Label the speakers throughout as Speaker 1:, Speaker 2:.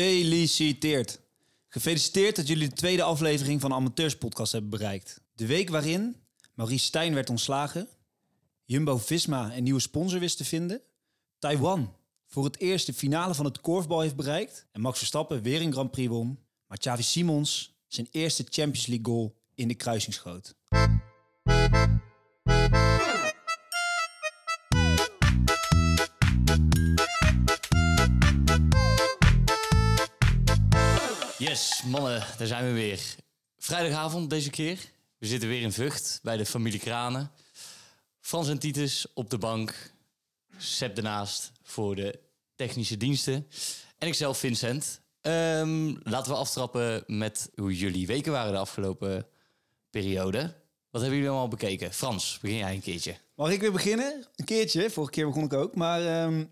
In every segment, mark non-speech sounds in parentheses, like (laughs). Speaker 1: Gefeliciteerd. Gefeliciteerd dat jullie de tweede aflevering van de Amateurs Podcast hebben bereikt. De week waarin Maurice Stijn werd ontslagen, Jumbo Visma een nieuwe sponsor wist te vinden, Taiwan voor het eerst de finale van het korfbal heeft bereikt en Max Verstappen weer een Grand Prix won, maar Xavi Simons zijn eerste Champions League goal in de kruising schoot.
Speaker 2: Yes, mannen, daar zijn we weer. Vrijdagavond deze keer. We zitten weer in Vught bij de familie Kranen. Frans en Titus op de bank. Seb ernaast voor de technische diensten. En ikzelf, Vincent. Ehm, laten we aftrappen met hoe jullie weken waren de afgelopen periode. Wat hebben jullie allemaal bekeken? Frans, begin jij een keertje.
Speaker 1: Mag ik weer beginnen? Een keertje. Vorige keer begon ik ook. Maar ehm,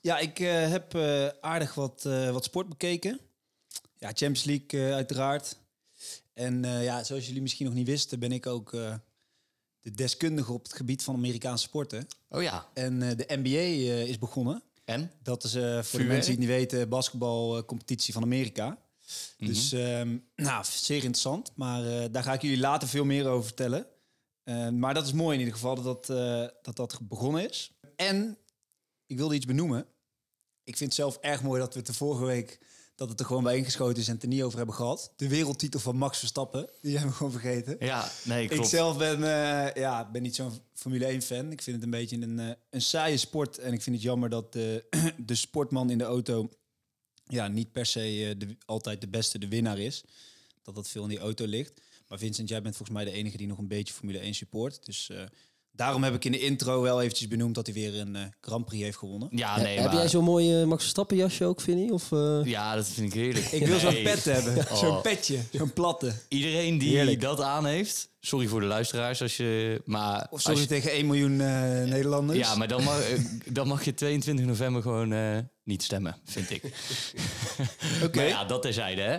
Speaker 1: ja, ik eh, heb eh, aardig wat, eh, wat sport bekeken. Ja, Champions League eh, uiteraard. En eh, ja, zoals jullie misschien nog niet wisten, ben ik ook eh, de deskundige op het gebied van Amerikaanse sporten.
Speaker 2: Oh ja,
Speaker 1: En eh, de NBA eh, is begonnen.
Speaker 2: en?
Speaker 1: Dat is eh, voor de
Speaker 2: Vuur,
Speaker 1: mensen
Speaker 2: hè?
Speaker 1: die het niet weten, basketbalcompetitie van Amerika. Dus ehm, nou, zeer interessant. Maar eh, daar ga ik jullie later veel meer over vertellen. Eh, maar dat is mooi in ieder geval dat dat, eh, dat dat begonnen is. En ik wilde iets benoemen. Ik vind het zelf erg mooi dat we het de vorige week dat het er gewoon bij ingeschoten is en het er niet over hebben gehad. De wereldtitel van Max Verstappen, die hebben we gewoon vergeten.
Speaker 2: Ja, nee, klopt.
Speaker 1: Ik zelf ben, eh, ja, ben niet zo'n Formule 1 fan. Ik vind het een beetje een, eh, een saaie sport. En ik vind het jammer dat de, (clears throat) de sportman in de auto ja, niet per se eh, de, altijd de beste, de winnaar is. Dat dat veel in die auto ligt. Maar Vincent, jij bent volgens mij de enige die nog een beetje Formule 1 support. Dus eh, daarom heb ik in de intro wel eventjes benoemd dat hij weer een eh, Grand Prix heeft gewonnen.
Speaker 2: Ja, nee,
Speaker 3: Heb
Speaker 2: maar...
Speaker 3: jij zo'n mooi eh, Max Verstappen jasje ook, Vinnie? Of, eh,
Speaker 2: Ja, dat vind ik heerlijk.
Speaker 1: Ik wil zo'n
Speaker 2: Nee.
Speaker 1: pet hebben.
Speaker 2: Oh.
Speaker 1: Zo'n petje. Zo'n platte.
Speaker 2: Iedereen die
Speaker 1: Heerlijk.
Speaker 2: dat aan heeft, sorry voor de luisteraars als je, maar
Speaker 1: Of
Speaker 2: als
Speaker 1: sorry
Speaker 2: je-
Speaker 1: tegen 1 miljoen eh, Nederlanders.
Speaker 2: ja, maar dan
Speaker 1: (laughs)
Speaker 2: mag, eh, dan mag je 22 november gewoon eh, niet stemmen, vind ik.
Speaker 1: Oké.
Speaker 2: Maar ja, dat terzijde, hè.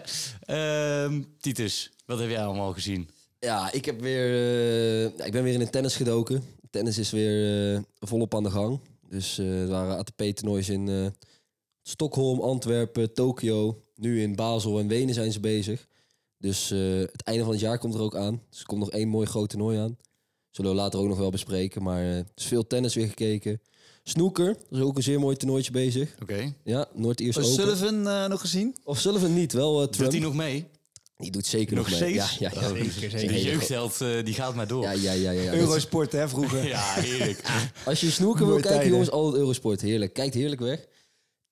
Speaker 2: Ehm, Titus, wat heb jij allemaal gezien?
Speaker 3: Ja, ik, heb weer, eh, ja, ik ben weer in het tennis gedoken. Tennis is weer eh, volop aan de gang. Dus eh, er waren ATP-toernoois in eh, Stockholm, Antwerpen, Tokio. Nu in Basel en Wenen zijn ze bezig. Dus eh, het einde van het jaar komt er ook aan. Dus er komt nog één mooi groot toernooi aan. Zullen we later ook nog wel bespreken. Maar eh, er is veel tennis weer gekeken. Snoeker, er is ook een zeer mooi toernooitje bezig.
Speaker 2: Oké.
Speaker 3: Ja, Noord-Ierse Open.
Speaker 1: Sullivan eh, nog gezien?
Speaker 3: Of Sullivan niet, wel eh,
Speaker 2: Doet
Speaker 3: Trump.
Speaker 2: hij nog mee?
Speaker 3: Die doet zeker nog,
Speaker 2: Nog
Speaker 3: mee.
Speaker 2: steeds?
Speaker 3: Ja, ja, ja.
Speaker 2: Oh,
Speaker 1: Zeker, zeker.
Speaker 2: Die
Speaker 3: Hele
Speaker 2: jeugdheld, eh, die gaat maar door.
Speaker 3: Ja,
Speaker 2: Ja,
Speaker 3: ja, ja, ja, ja. Dat is-
Speaker 1: Eurosport, hè, vroeger. (laughs)
Speaker 2: heerlijk.
Speaker 3: Als je snoeken wil
Speaker 1: Mooie
Speaker 3: kijken,
Speaker 1: tijden.
Speaker 3: jongens, al het Eurosport. Heerlijk. Kijkt heerlijk weg.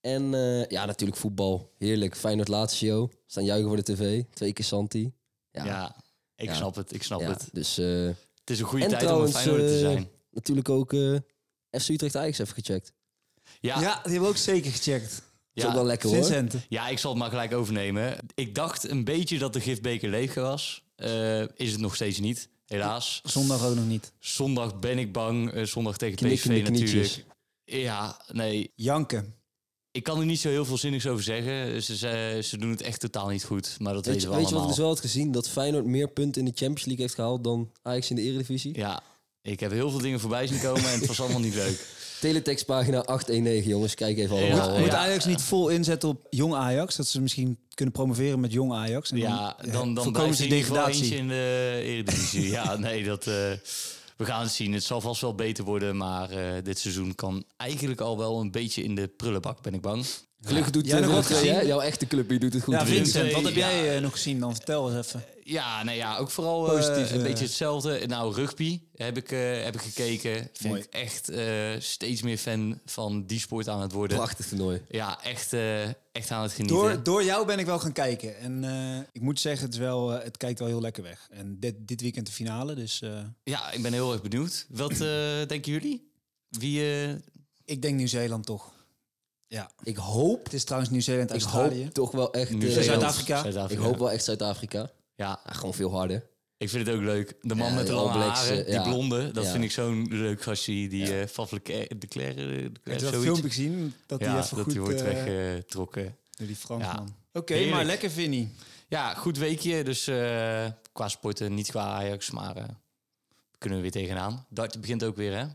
Speaker 3: En eh, ja, natuurlijk voetbal. Heerlijk. Feyenoord laatste show. Staan juichen voor de tv. Twee keer Santi. (laughs) Ja,
Speaker 2: Ja, ik
Speaker 3: Ja.
Speaker 2: snap het, ik snap
Speaker 3: ja,
Speaker 2: het.
Speaker 3: Dus, eh,
Speaker 2: Het is een goede
Speaker 3: En
Speaker 2: tijd
Speaker 3: trouwens,
Speaker 2: om een Feyenoorder te
Speaker 3: eh,
Speaker 2: zijn.
Speaker 3: natuurlijk ook eh, FC Utrecht Ajax even gecheckt.
Speaker 1: Ja,
Speaker 2: Ja,
Speaker 1: die hebben we ook zeker gecheckt.
Speaker 3: Dat is ook wel lekker hoor.
Speaker 1: Vincent.
Speaker 2: Ja, ik zal het maar gelijk overnemen. Ik dacht een beetje dat de gifbeker leeg was. Eh, is het nog steeds niet, helaas.
Speaker 1: Zondag ook nog niet.
Speaker 2: Zondag ben ik bang. eh, zondag tegen
Speaker 3: Knikkende
Speaker 2: PSV
Speaker 3: knietjes.
Speaker 2: natuurlijk. Ja, nee.
Speaker 1: Janken.
Speaker 2: Ik kan er niet zo heel veel zinnigs over zeggen. Ze, ze, ze doen het echt totaal niet goed. Maar dat
Speaker 3: Weet
Speaker 2: weten
Speaker 3: je,
Speaker 2: we
Speaker 3: weet je wat ik
Speaker 2: allemaal.
Speaker 3: dus wel had gezien? Dat Feyenoord meer punten in de Champions League heeft gehaald dan Ajax in de Eredivisie.
Speaker 2: Ja, ik heb heel veel dingen voorbij zien komen en het was allemaal niet
Speaker 3: (laughs)
Speaker 2: leuk.
Speaker 3: Teletextpagina 819, jongens. Kijk even allemaal.
Speaker 2: Ja,
Speaker 1: Moet
Speaker 2: ja.
Speaker 1: Ajax niet vol inzetten op jong Ajax? Dat ze misschien kunnen promoveren met jong Ajax. En
Speaker 2: Ja,
Speaker 1: eh,
Speaker 2: dan, dan
Speaker 1: voorkomen
Speaker 2: blijft
Speaker 1: ze
Speaker 2: er in ieder geval eentje
Speaker 1: degradatie.
Speaker 2: in de Eredivisie. ja, nee, dat... eh, we gaan het zien. Het zal vast wel beter worden, maar eh, dit seizoen kan eigenlijk al wel een beetje in de prullenbak, ben ik bang.
Speaker 3: Gelukkig doet
Speaker 1: Jij nog
Speaker 3: Willem
Speaker 1: wat
Speaker 3: II, hè?
Speaker 1: gezien?
Speaker 3: Jouw echte club die doet het goed.
Speaker 1: Ja,
Speaker 2: Willem
Speaker 1: Vincent,
Speaker 2: II,
Speaker 1: wat heb jij
Speaker 2: ja.
Speaker 1: eh, nog gezien dan? Vertel eens even.
Speaker 2: Ja, nou ja, ook vooral eh,
Speaker 1: Positief,
Speaker 2: een
Speaker 1: eh.
Speaker 2: beetje hetzelfde. Nou, rugby heb ik, eh, heb ik gekeken. Vind
Speaker 1: Mooi.
Speaker 2: ik echt eh, steeds meer fan van die sport aan het worden.
Speaker 3: Prachtig toernooi.
Speaker 2: Ja, echt, eh, echt aan het genieten.
Speaker 1: Door, door jou ben ik wel gaan kijken. En eh, ik moet zeggen, het, is wel, eh, het kijkt wel heel lekker weg. En dit, dit weekend de finale, dus... eh,
Speaker 2: Ja, ik ben heel erg benieuwd. Wat eh, denken jullie? Wie... eh,
Speaker 1: ik denk Nieuw-Zeeland toch. Ja.
Speaker 3: Ik hoop,
Speaker 1: Het is trouwens Nieuw-Zeeland,
Speaker 3: ik
Speaker 1: Australië.
Speaker 3: hoop toch wel echt... eh,
Speaker 2: Nieuw-Zeeland?
Speaker 1: Zuid-Afrika.
Speaker 3: Ik
Speaker 2: Zuid-Afrika.
Speaker 3: hoop wel echt Zuid-Afrika.
Speaker 2: Ja,
Speaker 3: Ja, gewoon veel harder.
Speaker 2: ik vind het ook leuk. De man
Speaker 3: Ja,
Speaker 2: met de
Speaker 3: de
Speaker 2: lange
Speaker 3: All Blacks,
Speaker 2: haren,
Speaker 3: eh,
Speaker 2: die
Speaker 3: ja.
Speaker 2: blonde. Dat
Speaker 3: Ja.
Speaker 2: vind ik zo'n leuk gastje. Die eh Faf Leclerc- de Clerc, eh, de
Speaker 1: Heb
Speaker 2: Clerc,
Speaker 1: je dat
Speaker 2: zoiets.
Speaker 1: filmpje gezien? Dat die
Speaker 2: Ja,
Speaker 1: even
Speaker 2: dat
Speaker 1: goed...
Speaker 2: die wordt
Speaker 1: eh,
Speaker 2: weggetrokken.
Speaker 1: door die Fransman. Oké,
Speaker 2: Heerlijk.
Speaker 1: maar lekker Vinnie.
Speaker 2: Ja, goed weekje. Dus eh, qua sporten, niet qua Ajax, maar eh, kunnen we weer tegenaan. Dart begint ook (clears throat) weer, hè?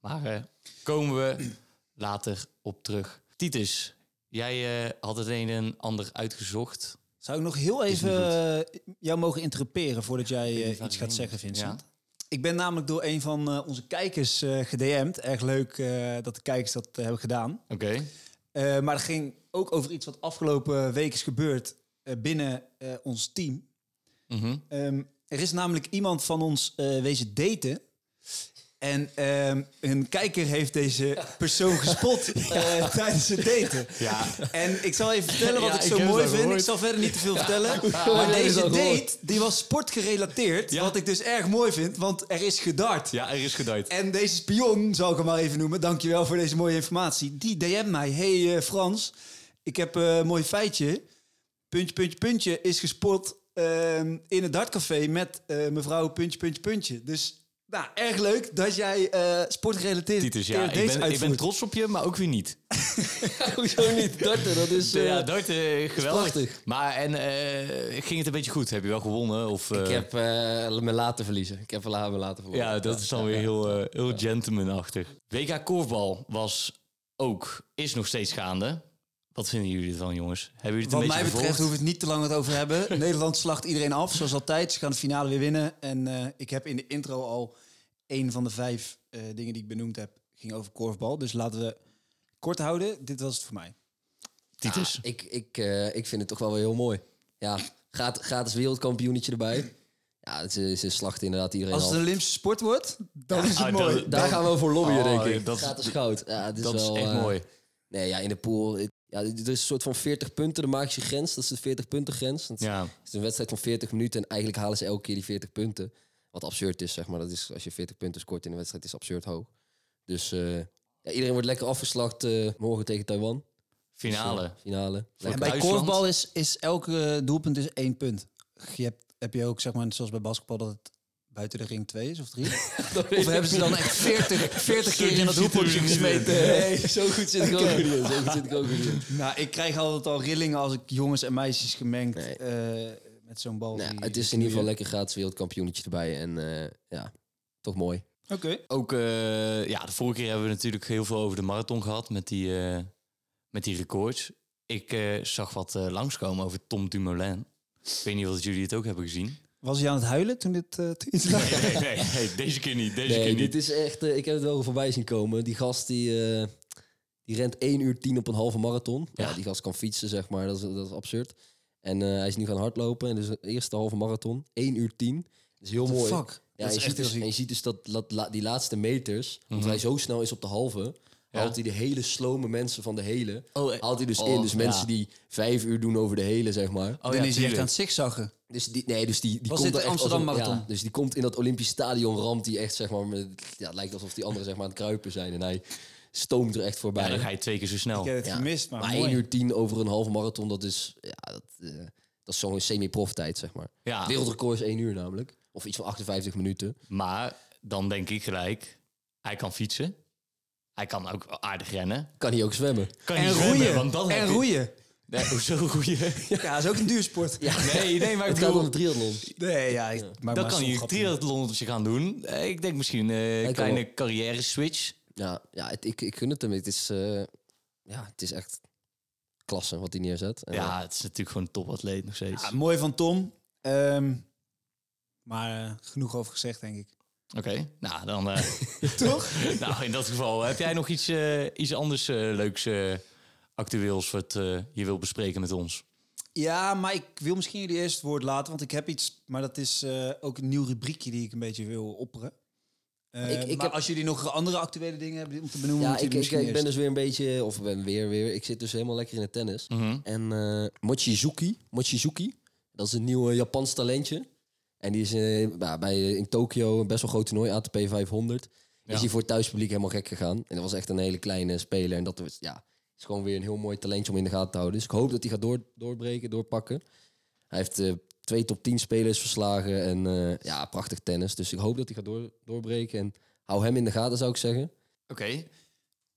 Speaker 2: Maar eh, komen we later op terug. Titus, Jij eh, had het een en ander uitgezocht.
Speaker 1: Zou ik nog heel
Speaker 2: Is niet
Speaker 1: even eh, jou mogen interruperen voordat jij eh, iets gaat zeggen, Vincent?
Speaker 2: Ja?
Speaker 1: Ik ben namelijk door een van eh, onze kijkers eh gedM'd. Erg leuk eh, dat de kijkers dat eh, hebben gedaan.
Speaker 2: Oké.
Speaker 1: Eh, maar het ging ook over iets wat afgelopen week is gebeurd eh, binnen eh, ons team.
Speaker 2: Mhm.
Speaker 1: Ehm, er is namelijk iemand van ons eh, wezen daten. En ehm, een kijker heeft deze persoon gespot
Speaker 2: (laughs)
Speaker 1: eh, tijdens het daten.
Speaker 2: Ja.
Speaker 1: En ik zal even vertellen wat
Speaker 2: Ja,
Speaker 1: ik
Speaker 2: ik
Speaker 1: zo
Speaker 2: heb
Speaker 1: mooi
Speaker 2: het al
Speaker 1: vind. Ik
Speaker 2: gehoord.
Speaker 1: zal verder niet te veel vertellen.
Speaker 3: heb
Speaker 1: Maar
Speaker 3: het
Speaker 1: deze
Speaker 3: al gehoord.
Speaker 1: date die was sportgerelateerd.
Speaker 2: Ja.
Speaker 1: Wat ik dus erg mooi vind, want er is gedart.
Speaker 2: ja, er is geduid.
Speaker 1: En deze spion, zal ik hem maar even noemen, dankjewel voor deze mooie informatie. Die DM mij, hey eh, Frans, ik heb eh, een mooi feitje. Puntje, puntje, puntje is gespot ehm, in het dartcafé met eh, mevrouw puntje, puntje, puntje. Dus nou, erg leuk dat jij eh sportgerelateerd
Speaker 2: Titus, ja,
Speaker 1: deze
Speaker 2: ik ben, ik ben
Speaker 1: uitvoert.
Speaker 2: trots op je, maar ook weer niet.
Speaker 3: (laughs) Hoezo niet? Darten, dat is... eh,
Speaker 2: ja, dat eh, geweldig.
Speaker 3: prachtig.
Speaker 2: Maar en eh, ging het een beetje goed? Heb je wel gewonnen? Of, eh,
Speaker 3: Ik heb eh, me laten verliezen. Ik heb la- me laten verliezen.
Speaker 2: Ja, dat is dan weer heel, eh, heel gentlemanachtig. WK korfbal was ook, is nog steeds gaande. Wat vinden jullie ervan, jongens? Hebben jullie het
Speaker 1: Wat
Speaker 2: een
Speaker 1: mij
Speaker 2: beetje
Speaker 1: betreft hoeven
Speaker 2: gevolgd?
Speaker 1: we het niet te lang het over hebben. (laughs) Nederland slacht iedereen af, zoals altijd. Ze gaan de finale weer winnen. En eh, ik heb in de intro al één van de vijf eh, dingen die ik benoemd heb, ging over korfbal. Dus laten we kort houden. Dit was het voor mij.
Speaker 2: Titus.
Speaker 3: Ik, ik, eh, ik vind het toch wel weer heel mooi. Ja, gaat, gratis wereldkampioenetje erbij. Ja, het is, ze slachten inderdaad iedereen
Speaker 1: Als het
Speaker 3: al.
Speaker 1: een Olympische sport wordt, dan (laughs) is het
Speaker 2: ah,
Speaker 1: mooi.
Speaker 2: dat-
Speaker 3: Daar
Speaker 2: dan-
Speaker 3: gaan we voor lobbyen,
Speaker 2: Oh,
Speaker 3: denk ik.
Speaker 2: dat is-
Speaker 3: gratis goud. Ja, het is
Speaker 2: dat
Speaker 3: wel,
Speaker 2: is echt
Speaker 3: eh,
Speaker 2: mooi.
Speaker 3: Nee, ja, in de pool. het- Ja, er is een soort van 40 punten, de magische grens. Dat is de 40 punten grens. Dat
Speaker 2: Ja.
Speaker 3: Het is een wedstrijd van 40 minuten en eigenlijk halen ze elke keer die 40 punten. Wat absurd is, zeg maar. Dat is, als je 40 punten scoort in een wedstrijd, is absurd hoog. Dus eh, ja, iedereen wordt lekker afgeslacht eh, morgen tegen Taiwan. Dus, eh,
Speaker 2: Finale.
Speaker 3: finale.
Speaker 1: En
Speaker 3: Lekker.
Speaker 1: bij
Speaker 2: Duitsland.
Speaker 1: korfbal is, is elke eh, doelpunt is één punt. Je hebt, heb je ook, zeg maar, zoals bij basketbal, dat het buiten de ring twee is of
Speaker 2: (laughs)
Speaker 1: drie. of hebben ze dan echt 40, 40 keer in dat hoepeltje gesmeten?
Speaker 3: Nee, zo goed zit ik ook weer niet in. Zo goed zit ik ook weer niet in.
Speaker 1: Nou, ik krijg altijd al rillingen als ik jongens en meisjes gemengd
Speaker 3: Nee.
Speaker 1: eh, met zo'n bal.
Speaker 3: Nou, ja,
Speaker 1: die-
Speaker 3: het is in ieder geval lekker gratis wereldkampioenetje erbij. En eh, ja, toch mooi.
Speaker 1: Oké.
Speaker 2: Ook, eh, ja, de vorige keer hebben we natuurlijk heel veel over de marathon gehad met die, eh, met die records. Ik eh, zag wat eh, langskomen over Tom Dumoulin. Ik weet niet of jullie het ook hebben gezien.
Speaker 1: Was hij aan het huilen toen dit eh, toen iets (laughs) lag?
Speaker 3: Oh
Speaker 2: Nee, nee, (laughs) nee, deze keer niet. Deze
Speaker 3: Nee,
Speaker 2: keer
Speaker 3: dit
Speaker 2: niet.
Speaker 3: is echt... eh, ik heb het wel voorbij zien komen. Die gast die, eh, die rent 1 uur 10 op een halve marathon. Ja.
Speaker 2: Ja.
Speaker 3: die gast kan fietsen, zeg maar. Dat is, dat is absurd. En eh, hij is nu gaan hardlopen. En dus de eerste halve marathon, 1 uur 10. Dat is heel mooi.
Speaker 1: Fuck.
Speaker 3: Ja,
Speaker 1: dat
Speaker 3: je,
Speaker 1: is echt
Speaker 3: ziet
Speaker 1: heel
Speaker 3: dus, en
Speaker 1: ziek.
Speaker 3: je ziet dus dat, dat la- die laatste meters, want hij zo snel is op de halve,
Speaker 2: Mhm. Ja.
Speaker 3: haalt hij de hele slome mensen van de hele,
Speaker 2: Oh, eh,
Speaker 3: haalt hij dus
Speaker 2: oh,
Speaker 3: in. Dus
Speaker 2: ja.
Speaker 3: mensen die vijf uur doen over de hele, zeg maar.
Speaker 2: Oh,
Speaker 1: Dan
Speaker 2: ja,
Speaker 1: is hij echt
Speaker 2: tuurlijk.
Speaker 1: aan het zigzaggen.
Speaker 3: Dus die, nee, dus die, die
Speaker 1: Was
Speaker 3: komt
Speaker 1: dit
Speaker 3: er
Speaker 1: de
Speaker 3: echt als een-
Speaker 1: Amsterdam-marathon?
Speaker 3: ja, dus die komt in dat Olympisch stadion, ramt die echt, zeg maar, met, ja, het lijkt alsof die anderen zeg maar aan het kruipen zijn. En hij stoomt er echt
Speaker 2: Ja,
Speaker 3: voorbij.
Speaker 2: dan ga Ah, je twee keer zo snel.
Speaker 1: Ik heb het
Speaker 3: Ja,
Speaker 1: gemist, maar,
Speaker 3: maar
Speaker 1: mooi.
Speaker 3: 1 uur 10 over een halve marathon, dat is, ja, dat, eh, dat is zo'n semi-prof tijd, zeg maar.
Speaker 2: Ja.
Speaker 3: Wereldrecord is 1 uur namelijk. Of iets van 58 minuten.
Speaker 2: Maar dan denk ik gelijk, hij kan fietsen. Hij kan ook aardig rennen.
Speaker 3: Kan hij ook zwemmen.
Speaker 2: Kan
Speaker 1: En
Speaker 2: niet zwemmen,
Speaker 1: roeien.
Speaker 2: want dan
Speaker 1: en
Speaker 2: heb je-
Speaker 1: roeien.
Speaker 2: Nee, hoezo roeien?
Speaker 1: (laughs) Ja, dat is ook een duursport. (laughs)
Speaker 3: (laughs)
Speaker 2: Nee, nee, maar ik
Speaker 3: Het gaat om
Speaker 2: bedoel...
Speaker 3: de triathlon.
Speaker 1: Nee, ja. ik- maar
Speaker 2: Dan
Speaker 1: maar
Speaker 2: kan
Speaker 1: zo'n
Speaker 2: je
Speaker 1: grapje.
Speaker 2: triathlon op zich gaan doen. Eh, Ik denk misschien eh, een
Speaker 3: kan
Speaker 2: kleine
Speaker 3: wel.
Speaker 2: carrière-switch.
Speaker 3: Ja, ja het- ik, ik gun het hem. Het is, eh, ja, het is echt klasse wat hij neerzet. En,
Speaker 2: Ja, het is natuurlijk gewoon een topatleet nog steeds.
Speaker 1: Ja, mooi van Tom. Ehm, maar eh, genoeg over gezegd, denk ik.
Speaker 2: Oké, nou dan... eh,
Speaker 1: (laughs) Toch?
Speaker 2: (laughs) nou, in dat geval, heb jij nog iets, eh, iets anders eh, leuks, eh, actueels, wat eh, je wil bespreken met ons?
Speaker 1: Ja, maar ik wil misschien jullie eerst het woord laten, want ik heb iets, maar dat is eh, ook een nieuw rubriekje die ik een beetje wil opperen. Eh,
Speaker 3: Ik- ik
Speaker 1: maar
Speaker 3: heb-
Speaker 1: als jullie nog andere actuele dingen hebben om te benoemen,
Speaker 3: ja
Speaker 1: moeten
Speaker 3: ik,
Speaker 1: jullie
Speaker 3: ik,
Speaker 1: misschien
Speaker 3: ik ben
Speaker 1: eerst.
Speaker 3: dus weer een beetje... Of ben weer, weer. Ik zit dus helemaal lekker in het tennis.
Speaker 1: Mhm.
Speaker 3: En eh Mochizuki, Mochizuki, dat is een nieuw eh, Japans talentje. En die is eh, ja, bij, eh, in Tokio een best wel groot toernooi, ATP 500.
Speaker 2: Ja.
Speaker 3: Is hij voor het thuispubliek helemaal gek gegaan. En dat was echt een hele kleine speler. En dat was, ja, is gewoon weer een heel mooi talentje om in de gaten te houden. Dus ik hoop dat hij gaat door, doorbreken, doorpakken. Hij heeft eh, twee top 10 spelers verslagen. En eh, ja, prachtig tennis. Dus ik hoop dat hij gaat door, doorbreken. En hou hem in de gaten, zou ik zeggen.
Speaker 2: Oké.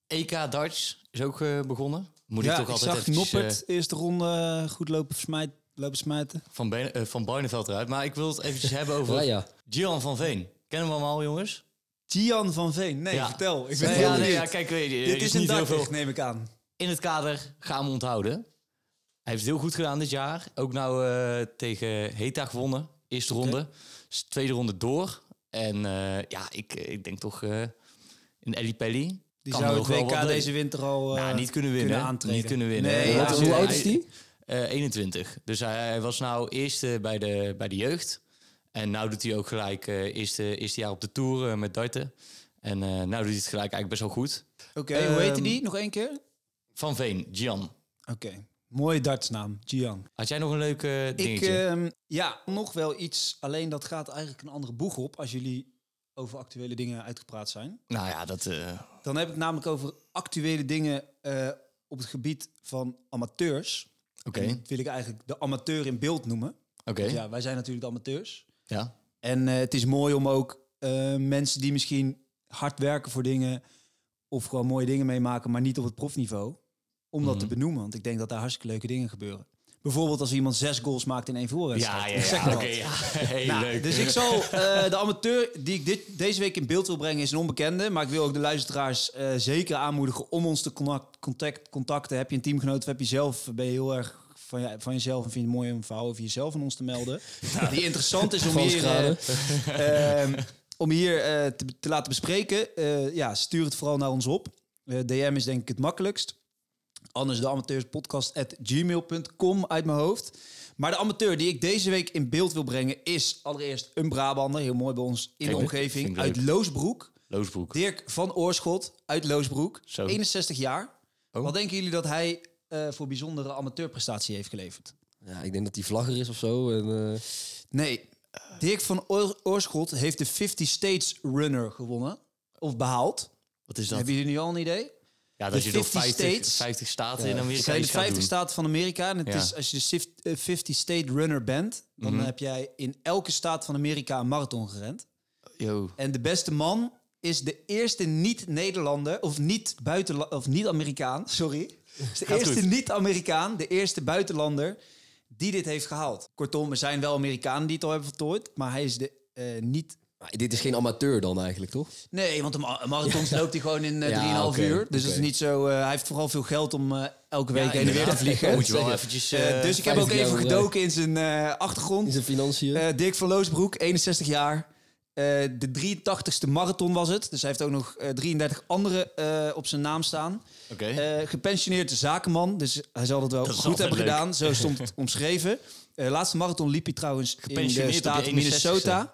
Speaker 2: EK Darts is ook eh, begonnen. Moet
Speaker 1: ja,
Speaker 2: ik toch altijd
Speaker 1: zag
Speaker 2: eventjes,
Speaker 1: Noppert
Speaker 2: eh,
Speaker 1: eerste ronde eh, goed lopen, smijt, lopen smijten.
Speaker 2: van, Bene- eh, van Barneveld eruit. Maar ik wil het
Speaker 3: (laughs)
Speaker 2: eventjes hebben over
Speaker 3: Ja, ja.
Speaker 2: Gian van Veen. Kennen we hem al, jongens?
Speaker 1: Gian van Veen, nee, vertel. Ik ben
Speaker 2: Nee,
Speaker 1: heel
Speaker 2: ja, nee, ja,
Speaker 1: benieuwd.
Speaker 2: kijk, weet je, er
Speaker 1: Dit is een
Speaker 2: niet heel
Speaker 1: dartweg,
Speaker 2: veel.
Speaker 1: neem ik aan.
Speaker 2: in het kader gaan we onthouden. Hij heeft het heel goed gedaan dit jaar. Ook nou eh, tegen Heta gewonnen. Eerste ronde. Dus tweede ronde door. En eh, ja, ik, ik denk toch eh in Ellie Pelli.
Speaker 1: Die
Speaker 2: kan
Speaker 1: zou
Speaker 2: er
Speaker 1: het
Speaker 2: nog wel wat
Speaker 1: WK
Speaker 2: doen.
Speaker 1: deze winter al eh,
Speaker 2: Nou, niet kunnen winnen.
Speaker 1: aantreden.
Speaker 2: Niet kunnen winnen.
Speaker 1: Nee,
Speaker 3: Wat-
Speaker 1: ja,
Speaker 3: hoe oud is die?
Speaker 2: Eh, 21. Dus hij, hij was nou eerste bij de, bij de jeugd. En nou doet hij ook gelijk eh eerste, eerste jaar op de Tour eh, met darten. En eh nou doet hij het gelijk eigenlijk best wel goed.
Speaker 1: Oké, hoe heette
Speaker 2: Ehm,
Speaker 1: die? Nog één keer? Oké.
Speaker 2: Van Veen, Gian.
Speaker 1: Mooie dartsnaam, Gian.
Speaker 2: Had jij nog een leuk eh,
Speaker 1: Ik,
Speaker 2: dingetje?
Speaker 1: ehm, ja, nog wel iets. Alleen dat gaat eigenlijk een andere boeg op als jullie over actuele dingen uitgepraat zijn.
Speaker 2: nou ja, dat... eh,
Speaker 1: Dan heb ik het namelijk over actuele dingen eh, op het gebied van amateurs.
Speaker 2: Oké,
Speaker 1: En dat wil ik eigenlijk de amateur in beeld noemen.
Speaker 2: oké.
Speaker 1: Want
Speaker 2: Ja.
Speaker 1: Ja, wij zijn natuurlijk de amateurs.
Speaker 2: Ja.
Speaker 1: En eh, het is mooi om ook eh, mensen die misschien hard werken voor dingen of gewoon mooie dingen meemaken, maar niet op het profniveau, om dat
Speaker 2: Mhm.
Speaker 1: te benoemen. Want ik denk dat daar hartstikke leuke dingen gebeuren. Bijvoorbeeld als iemand zes goals maakt in één voorwedstrijd.
Speaker 2: Ja, ja,
Speaker 1: Ik zeg maar
Speaker 2: Oké,
Speaker 1: wat.
Speaker 2: ja. (laughs) Heel
Speaker 1: Nou,
Speaker 2: leuk.
Speaker 1: Dus ik zal eh, de amateur die ik dit, deze week in beeld wil brengen is een onbekende. Maar ik wil ook de luisteraars eh, zeker aanmoedigen om ons te contact, contact, contacten. Heb je een teamgenoot of heb je zelf, ben je heel erg van, je, van jezelf en vind je het mooi om een verhaal over jezelf aan ons te
Speaker 2: (laughs)
Speaker 1: melden. Die interessant is om
Speaker 3: Frans
Speaker 1: hier,
Speaker 3: Graden.
Speaker 1: eh, ehm, om hier eh, te, te laten bespreken. Eh, ja, stuur het vooral naar ons op. Eh, DM is denk ik het makkelijkst. Anders de amateurspodcast at gmail.com uit mijn hoofd. Maar de amateur die ik deze week in beeld wil brengen is allereerst een Brabander. Heel mooi bij ons in de
Speaker 2: Kijk,
Speaker 1: omgeving.
Speaker 2: vind ik
Speaker 1: uit
Speaker 2: leuk.
Speaker 1: Loosbroek.
Speaker 2: Loosbroek.
Speaker 1: Dirk van Oorschot uit Loosbroek.
Speaker 2: Zo.
Speaker 1: 61 jaar.
Speaker 2: Oh.
Speaker 1: Wat denken jullie dat hij eh, voor bijzondere amateurprestatie heeft geleverd?
Speaker 3: Ja, ik denk dat hij vlagger is of zo. En, eh,
Speaker 1: Nee, Dirk van Oor- Oorschot heeft de 50 States Runner gewonnen. Of behaald.
Speaker 2: Wat is dat?
Speaker 1: Hebben jullie nu al een idee?
Speaker 2: Ja,
Speaker 1: de
Speaker 2: dat je door
Speaker 1: 50
Speaker 2: 50,
Speaker 1: states-
Speaker 2: 50 staten in
Speaker 1: Het
Speaker 2: Amerika
Speaker 1: zijn de
Speaker 2: iets gaat
Speaker 1: 50
Speaker 2: doen.
Speaker 1: staten van Amerika. En het
Speaker 2: Ja.
Speaker 1: is, als je de sif- eh, 50 State Runner bent, dan heb jij in elke staat van Amerika een marathon gerend.
Speaker 2: Yo.
Speaker 1: En de beste man is de eerste niet-Nederlander, of niet-buitenla- of niet-Amerikaan, (laughs) sorry. Is de
Speaker 2: Gaat
Speaker 1: eerste
Speaker 2: goed.
Speaker 1: niet-Amerikaan, de eerste buitenlander die dit heeft gehaald. Kortom, er zijn wel Amerikanen die het al hebben voltooid, maar hij is de eh, niet...
Speaker 3: maar dit is geen amateur dan eigenlijk, toch? (laughs)
Speaker 1: Nee, want een ma- een marathon loopt hij gewoon in eh, 3,5
Speaker 3: Ja, oké,
Speaker 1: uur. Dus dat is
Speaker 3: oké.
Speaker 1: niet zo... eh, hij heeft vooral veel geld om eh, elke week heen en weer te
Speaker 2: inderdaad.
Speaker 1: vliegen.
Speaker 2: Dan moet je wel
Speaker 3: Zeggen.
Speaker 2: eventjes...
Speaker 1: Eh,
Speaker 2: eh,
Speaker 1: dus ik heb ook
Speaker 3: 50
Speaker 1: even
Speaker 3: jaar
Speaker 1: gedoken in zijn eh,
Speaker 3: In
Speaker 1: achtergrond.
Speaker 3: zijn financiën.
Speaker 1: Eh, Dirk van Loosbroek, 61 jaar. Eh, de 83ste marathon was het. Dus hij heeft ook nog eh, 33 andere eh, op zijn naam staan.
Speaker 2: Oké.
Speaker 1: Eh, gepensioneerd zakenman, dus hij zal dat wel
Speaker 2: Dat is
Speaker 1: goed
Speaker 2: altijd
Speaker 1: hebben
Speaker 2: leuk.
Speaker 1: gedaan.
Speaker 2: (laughs)
Speaker 1: Zo stond het omschreven. Eh, laatste marathon liep hij trouwens in
Speaker 2: Gepensioneerd
Speaker 1: de
Speaker 2: op
Speaker 1: staat
Speaker 2: je 61ste.
Speaker 1: Minnesota.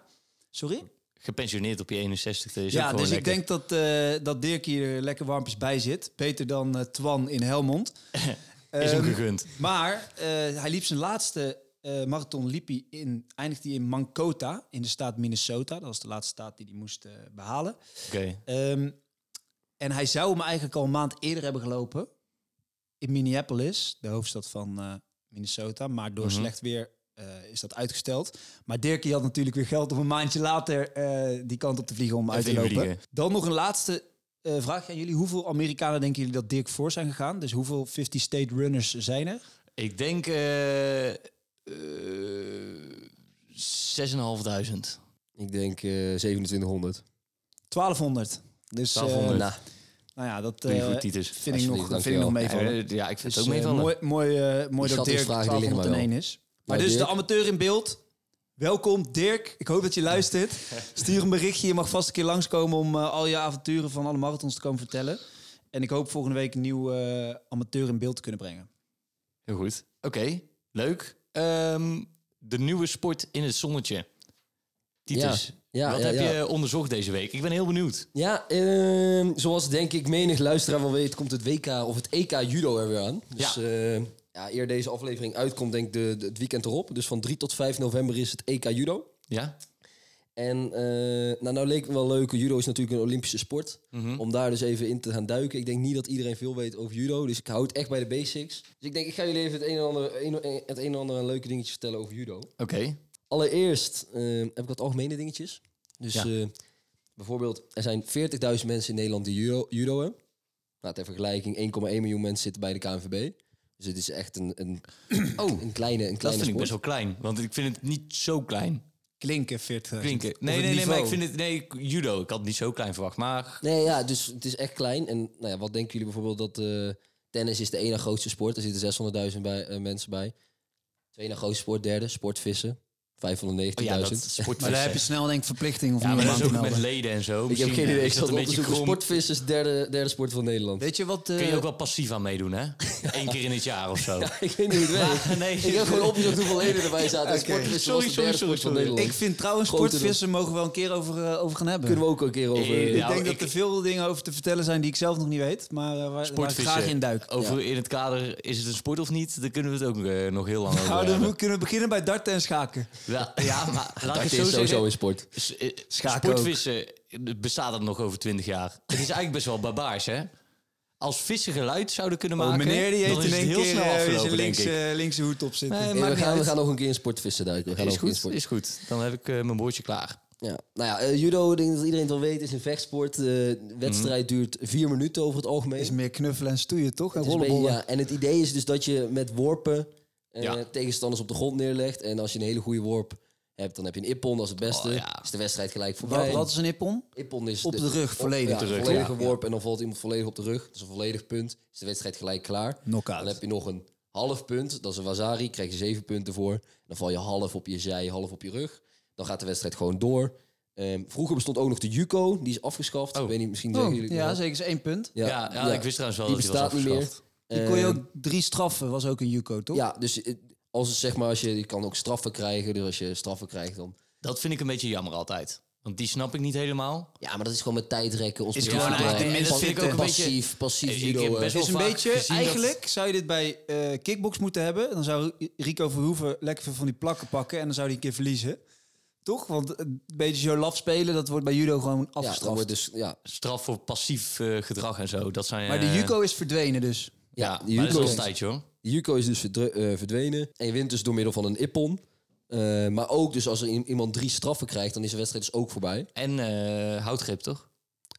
Speaker 1: Sorry?
Speaker 2: Gepensioneerd op je 61 e is ook
Speaker 1: Ja,
Speaker 2: gewoon
Speaker 1: dus ik
Speaker 2: lekker.
Speaker 1: denk dat, eh, dat Dirk hier lekker warmpjes bij zit. Beter dan eh, Twan in Helmond.
Speaker 2: (laughs) Is hem
Speaker 1: Ehm,
Speaker 2: gegund.
Speaker 1: Maar eh, hij liep zijn laatste eh, marathon liep hij in, eindigde hij in Mankota in de staat Minnesota. Dat was de laatste staat die hij moest eh, behalen.
Speaker 2: Oké.
Speaker 1: Ehm, en hij zou hem eigenlijk al een maand eerder hebben gelopen in Minneapolis, de hoofdstad van eh, Minnesota. Maar door
Speaker 2: Mhm.
Speaker 1: slecht weer eh, is dat uitgesteld. Maar Dirkie had natuurlijk weer geld om een maandje later eh, die kant op te vliegen om uit te
Speaker 2: Even
Speaker 1: lopen.
Speaker 2: inblikken.
Speaker 1: Dan nog een laatste eh, vraag aan jullie. Hoeveel Amerikanen denken jullie dat Dirk voor zijn gegaan? Dus hoeveel 50 state runners zijn er?
Speaker 2: Ik denk... eh eh 6.500.
Speaker 3: Ik denk eh 2700.
Speaker 1: 1200. Dus eh,
Speaker 2: 1200.
Speaker 1: nou nou ja, dat
Speaker 2: Doe je
Speaker 1: eh,
Speaker 2: goed, Titus.
Speaker 1: vind ik nog,
Speaker 3: Alsjeblieft,
Speaker 1: vind ik
Speaker 3: dankjewel.
Speaker 1: nog
Speaker 2: Ja,
Speaker 1: meevallen.
Speaker 2: ja, ik vind
Speaker 1: Dus,
Speaker 2: het
Speaker 1: eh,
Speaker 2: ook meevallen.
Speaker 1: mooi mooi, eh, mooi dat Dirk
Speaker 3: schattingsvragen, die liggen
Speaker 1: 1201
Speaker 2: Nou,
Speaker 1: is. Maar
Speaker 3: Ja,
Speaker 1: dus de
Speaker 3: Dirk.
Speaker 1: amateur in beeld. Welkom Dirk, ik hoop dat je
Speaker 2: (laughs)
Speaker 1: luistert. Stuur een berichtje, je mag vast een keer langskomen om eh, al je avonturen van alle marathons te komen vertellen. En ik hoop volgende week een nieuw eh, amateur in beeld te kunnen brengen.
Speaker 2: Heel goed. Oké, leuk. Ehm, de nieuwe sport in het zonnetje. Titus,
Speaker 3: Ja, ja,
Speaker 2: wat
Speaker 3: ja,
Speaker 2: heb
Speaker 3: ja.
Speaker 2: je onderzocht deze week? Ik ben heel benieuwd.
Speaker 3: Ja, ehm, zoals denk ik menig luisteraar wel weet, komt het WK of het EK judo er weer aan. Dus
Speaker 2: Ja.
Speaker 3: ja. ja, eer deze aflevering uitkomt, denk ik de, de- het weekend erop. Dus van 3 tot 5 november is het EK judo.
Speaker 2: Ja?
Speaker 3: En eh, nou, nou leek me wel leuk, judo is natuurlijk een Olympische sport.
Speaker 2: Mhm.
Speaker 3: Om daar dus even in te gaan duiken. Ik denk niet dat iedereen veel weet over judo, dus ik hou het echt bij de basics. Dus ik denk, ik ga jullie even het een en ander, een- het een en ander aan leuke dingetjes vertellen over judo.
Speaker 2: Oké.
Speaker 3: Allereerst eh, heb ik wat algemene dingetjes. Dus
Speaker 2: Ja.
Speaker 3: eh, bijvoorbeeld, er zijn 40.000 mensen in Nederland die judo, judo hebben. Nou, ter vergelijking, 1,1 miljoen mensen zitten bij de KNVB. Dus het is echt een, een,
Speaker 2: Oh,
Speaker 3: een kleine, een
Speaker 2: dat
Speaker 3: kleine
Speaker 2: vind ik
Speaker 3: sport.
Speaker 2: best wel klein. Want ik vind het niet zo klein.
Speaker 1: Klinken 40.
Speaker 2: Klinken.
Speaker 1: Of
Speaker 2: Nee,
Speaker 1: het
Speaker 2: nee, nee, maar ik
Speaker 1: niveau.
Speaker 2: vind het... Nee, judo. Ik had het niet zo klein verwacht. Maar Oh
Speaker 3: Nee, ja, dus het is echt klein. En nou ja, wat denken jullie bijvoorbeeld dat eh, Tennis is de ene grootste sport. Er zitten 600.000 bij, eh, mensen bij. Tweede na grootste sport. Derde, sportvissen. 590.000.
Speaker 2: Oh ja, dat
Speaker 3: (laughs)
Speaker 1: Maar
Speaker 2: sportvissen.
Speaker 1: daar heb je snel denk ik verplichting of
Speaker 2: Ja, maar
Speaker 1: niemand
Speaker 2: dat is ook
Speaker 1: aan te
Speaker 2: met
Speaker 1: melden.
Speaker 2: leden en zo.
Speaker 3: ik heb
Speaker 2: Misschien eh,
Speaker 3: geen
Speaker 2: is
Speaker 3: idee. Ik zat
Speaker 2: dat
Speaker 3: op te zoeken.
Speaker 2: krom.
Speaker 3: Sportvissen is derde, derde sport van Nederland.
Speaker 1: Weet je wat?
Speaker 2: Kun je
Speaker 1: eh,
Speaker 2: ook wel passief aan meedoen, hè? Eén keer in het jaar of zo.
Speaker 3: (laughs) ik weet niet hoe het
Speaker 2: (laughs)
Speaker 3: werkt.
Speaker 2: nee.
Speaker 3: Ik heb gewoon opgezocht hoeveel leden erbij zaten.
Speaker 1: Oké.
Speaker 3: Sportvissen
Speaker 2: Sorry,
Speaker 3: was de derde
Speaker 2: sorry,
Speaker 3: sport van
Speaker 2: sorry.
Speaker 3: Nederland.
Speaker 1: ik vind trouwens
Speaker 3: Grote
Speaker 1: sportvissen mogen we wel een keer over, eh, over gaan hebben.
Speaker 3: (laughs) Kunnen we ook een keer over...
Speaker 2: Eh,
Speaker 1: ik
Speaker 2: Ja,
Speaker 1: denk dat
Speaker 2: ik-
Speaker 1: er veel dingen over te vertellen zijn die ik zelf nog niet weet, maar eh, waar, waar ik
Speaker 2: Sportvissen.
Speaker 1: graag in duik.
Speaker 2: Over in het kader, is het een sport of niet? Daar kunnen we het ook eh, nog heel lang over
Speaker 1: Nou, dan
Speaker 2: hebben.
Speaker 1: we kunnen we beginnen bij darten en schaken.
Speaker 2: Ja, ja, maar (laughs) laat ik
Speaker 3: Dat
Speaker 2: het
Speaker 3: is
Speaker 2: zo
Speaker 3: sowieso
Speaker 2: zeggen.
Speaker 3: in sport.
Speaker 2: S- eh,
Speaker 1: Schaken
Speaker 2: Sportvissen eh, bestaat er nog over twintig jaar. Het is eigenlijk best wel barbaars, hè? Als vissen geluid zouden kunnen
Speaker 1: Oh,
Speaker 2: maken,
Speaker 1: meneer die heeft
Speaker 2: dan
Speaker 1: in
Speaker 2: is het
Speaker 1: één
Speaker 2: heel
Speaker 1: keer
Speaker 2: snel
Speaker 1: eh, zijn
Speaker 2: afgelopen, denk
Speaker 1: linkse,
Speaker 2: ik.
Speaker 1: linkse hoed op zitten.
Speaker 2: Nee,
Speaker 3: Nee,
Speaker 2: maakt
Speaker 3: Eh, we,
Speaker 2: niet
Speaker 3: gaan, we
Speaker 2: uit.
Speaker 3: gaan nog een keer in sportvissen duiken. We gaan
Speaker 2: Is
Speaker 3: nog een keer in
Speaker 2: goed,
Speaker 3: sport.
Speaker 2: is goed. Dan heb ik eh, mijn boordje klaar.
Speaker 3: Ja. Nou ja, eh, judo, ik denk dat iedereen het wel weet, is een vechtsport. Eh, de wedstrijd
Speaker 2: Mhm.
Speaker 3: duurt vier minuten over het algemeen.
Speaker 1: is meer knuffelen en stoeien, toch? En
Speaker 3: Het is een beetje-
Speaker 1: rollenbollen.
Speaker 3: ja, en het idee is dus dat je met worpen eh,
Speaker 2: Ja.
Speaker 3: tegenstanders op de grond neerlegt. En als je een hele goede worp hebt, dan heb je een ippon, dat is het beste.
Speaker 2: Oh, ja.
Speaker 3: Is de wedstrijd gelijk
Speaker 1: Wat,
Speaker 3: voorbij.
Speaker 1: wat is een ippon?
Speaker 3: Ippon is
Speaker 1: Op de rug, volledig.
Speaker 3: ja,
Speaker 1: Op de
Speaker 2: rug,
Speaker 3: volledige
Speaker 1: ja.
Speaker 3: worp en dan valt iemand volledig op de rug. Dat is een volledig punt. Is de wedstrijd gelijk klaar. Dan
Speaker 1: Knockout.
Speaker 3: heb je nog een half punt, dat is een wasari, krijg je zeven punten voor. Dan val je half op je zij, half op je rug. Dan gaat de wedstrijd gewoon door. Ehm, vroeger bestond ook nog de Juco, die is afgeschaft.
Speaker 2: Oh.
Speaker 3: Ik weet niet, misschien
Speaker 1: Oh,
Speaker 3: zeggen jullie het
Speaker 1: ja,
Speaker 3: nog.
Speaker 1: zeker. Is één punt.
Speaker 2: Ja, ja, ik wist trouwens wel
Speaker 3: die
Speaker 2: dat die was
Speaker 3: bestaat niet meer.
Speaker 2: afgeschaft.
Speaker 1: Die kon je
Speaker 3: Ehm,
Speaker 1: ook drie straffen, was ook een Juco, toch?
Speaker 3: Ja, dus eh, als het, zeg maar, als je, je kan ook straffen krijgen. Dus als je straffen krijgt, dan.
Speaker 2: Dat vind ik een beetje jammer altijd. Want die snap ik niet helemaal.
Speaker 3: Ja, maar dat is gewoon met tijdrekken. Ons
Speaker 1: Is
Speaker 3: bedoel-
Speaker 1: gewoon
Speaker 3: eh,
Speaker 1: eigenlijk
Speaker 2: de
Speaker 3: pas-
Speaker 2: mensen vind ik ook een beetje-
Speaker 3: passief, passief
Speaker 2: Ik- ik
Speaker 3: judo.
Speaker 2: heb
Speaker 3: eh.
Speaker 2: best wel
Speaker 1: is een
Speaker 2: vaak
Speaker 1: beetje,
Speaker 2: gezien dat-
Speaker 1: eigenlijk zou je dit bij eh kickbox moeten hebben. Dan zou Rico Verhoeven lekker veel van die plakken pakken en dan zou hij een keer verliezen. Toch? Want een beetje zo laf spelen, dat wordt bij judo gewoon
Speaker 3: ja, dan
Speaker 1: afgestraft.
Speaker 3: wordt dus, ja,
Speaker 2: Straf voor passief eh, gedrag en zo. Dat zijn,
Speaker 1: maar
Speaker 2: eh,
Speaker 1: de Juco is verdwenen dus.
Speaker 2: Ja,
Speaker 3: Ja, de
Speaker 2: maar dat
Speaker 3: Juco
Speaker 2: is
Speaker 3: is-
Speaker 2: al tijd, joh.
Speaker 3: De Juco is dus verdwe- eh, verdwenen. En je wint dus door middel van een ippon. Eh, maar ook dus als er i- iemand drie straffen krijgt, dan is de wedstrijd dus ook voorbij.
Speaker 2: En eh, houtgrip, toch?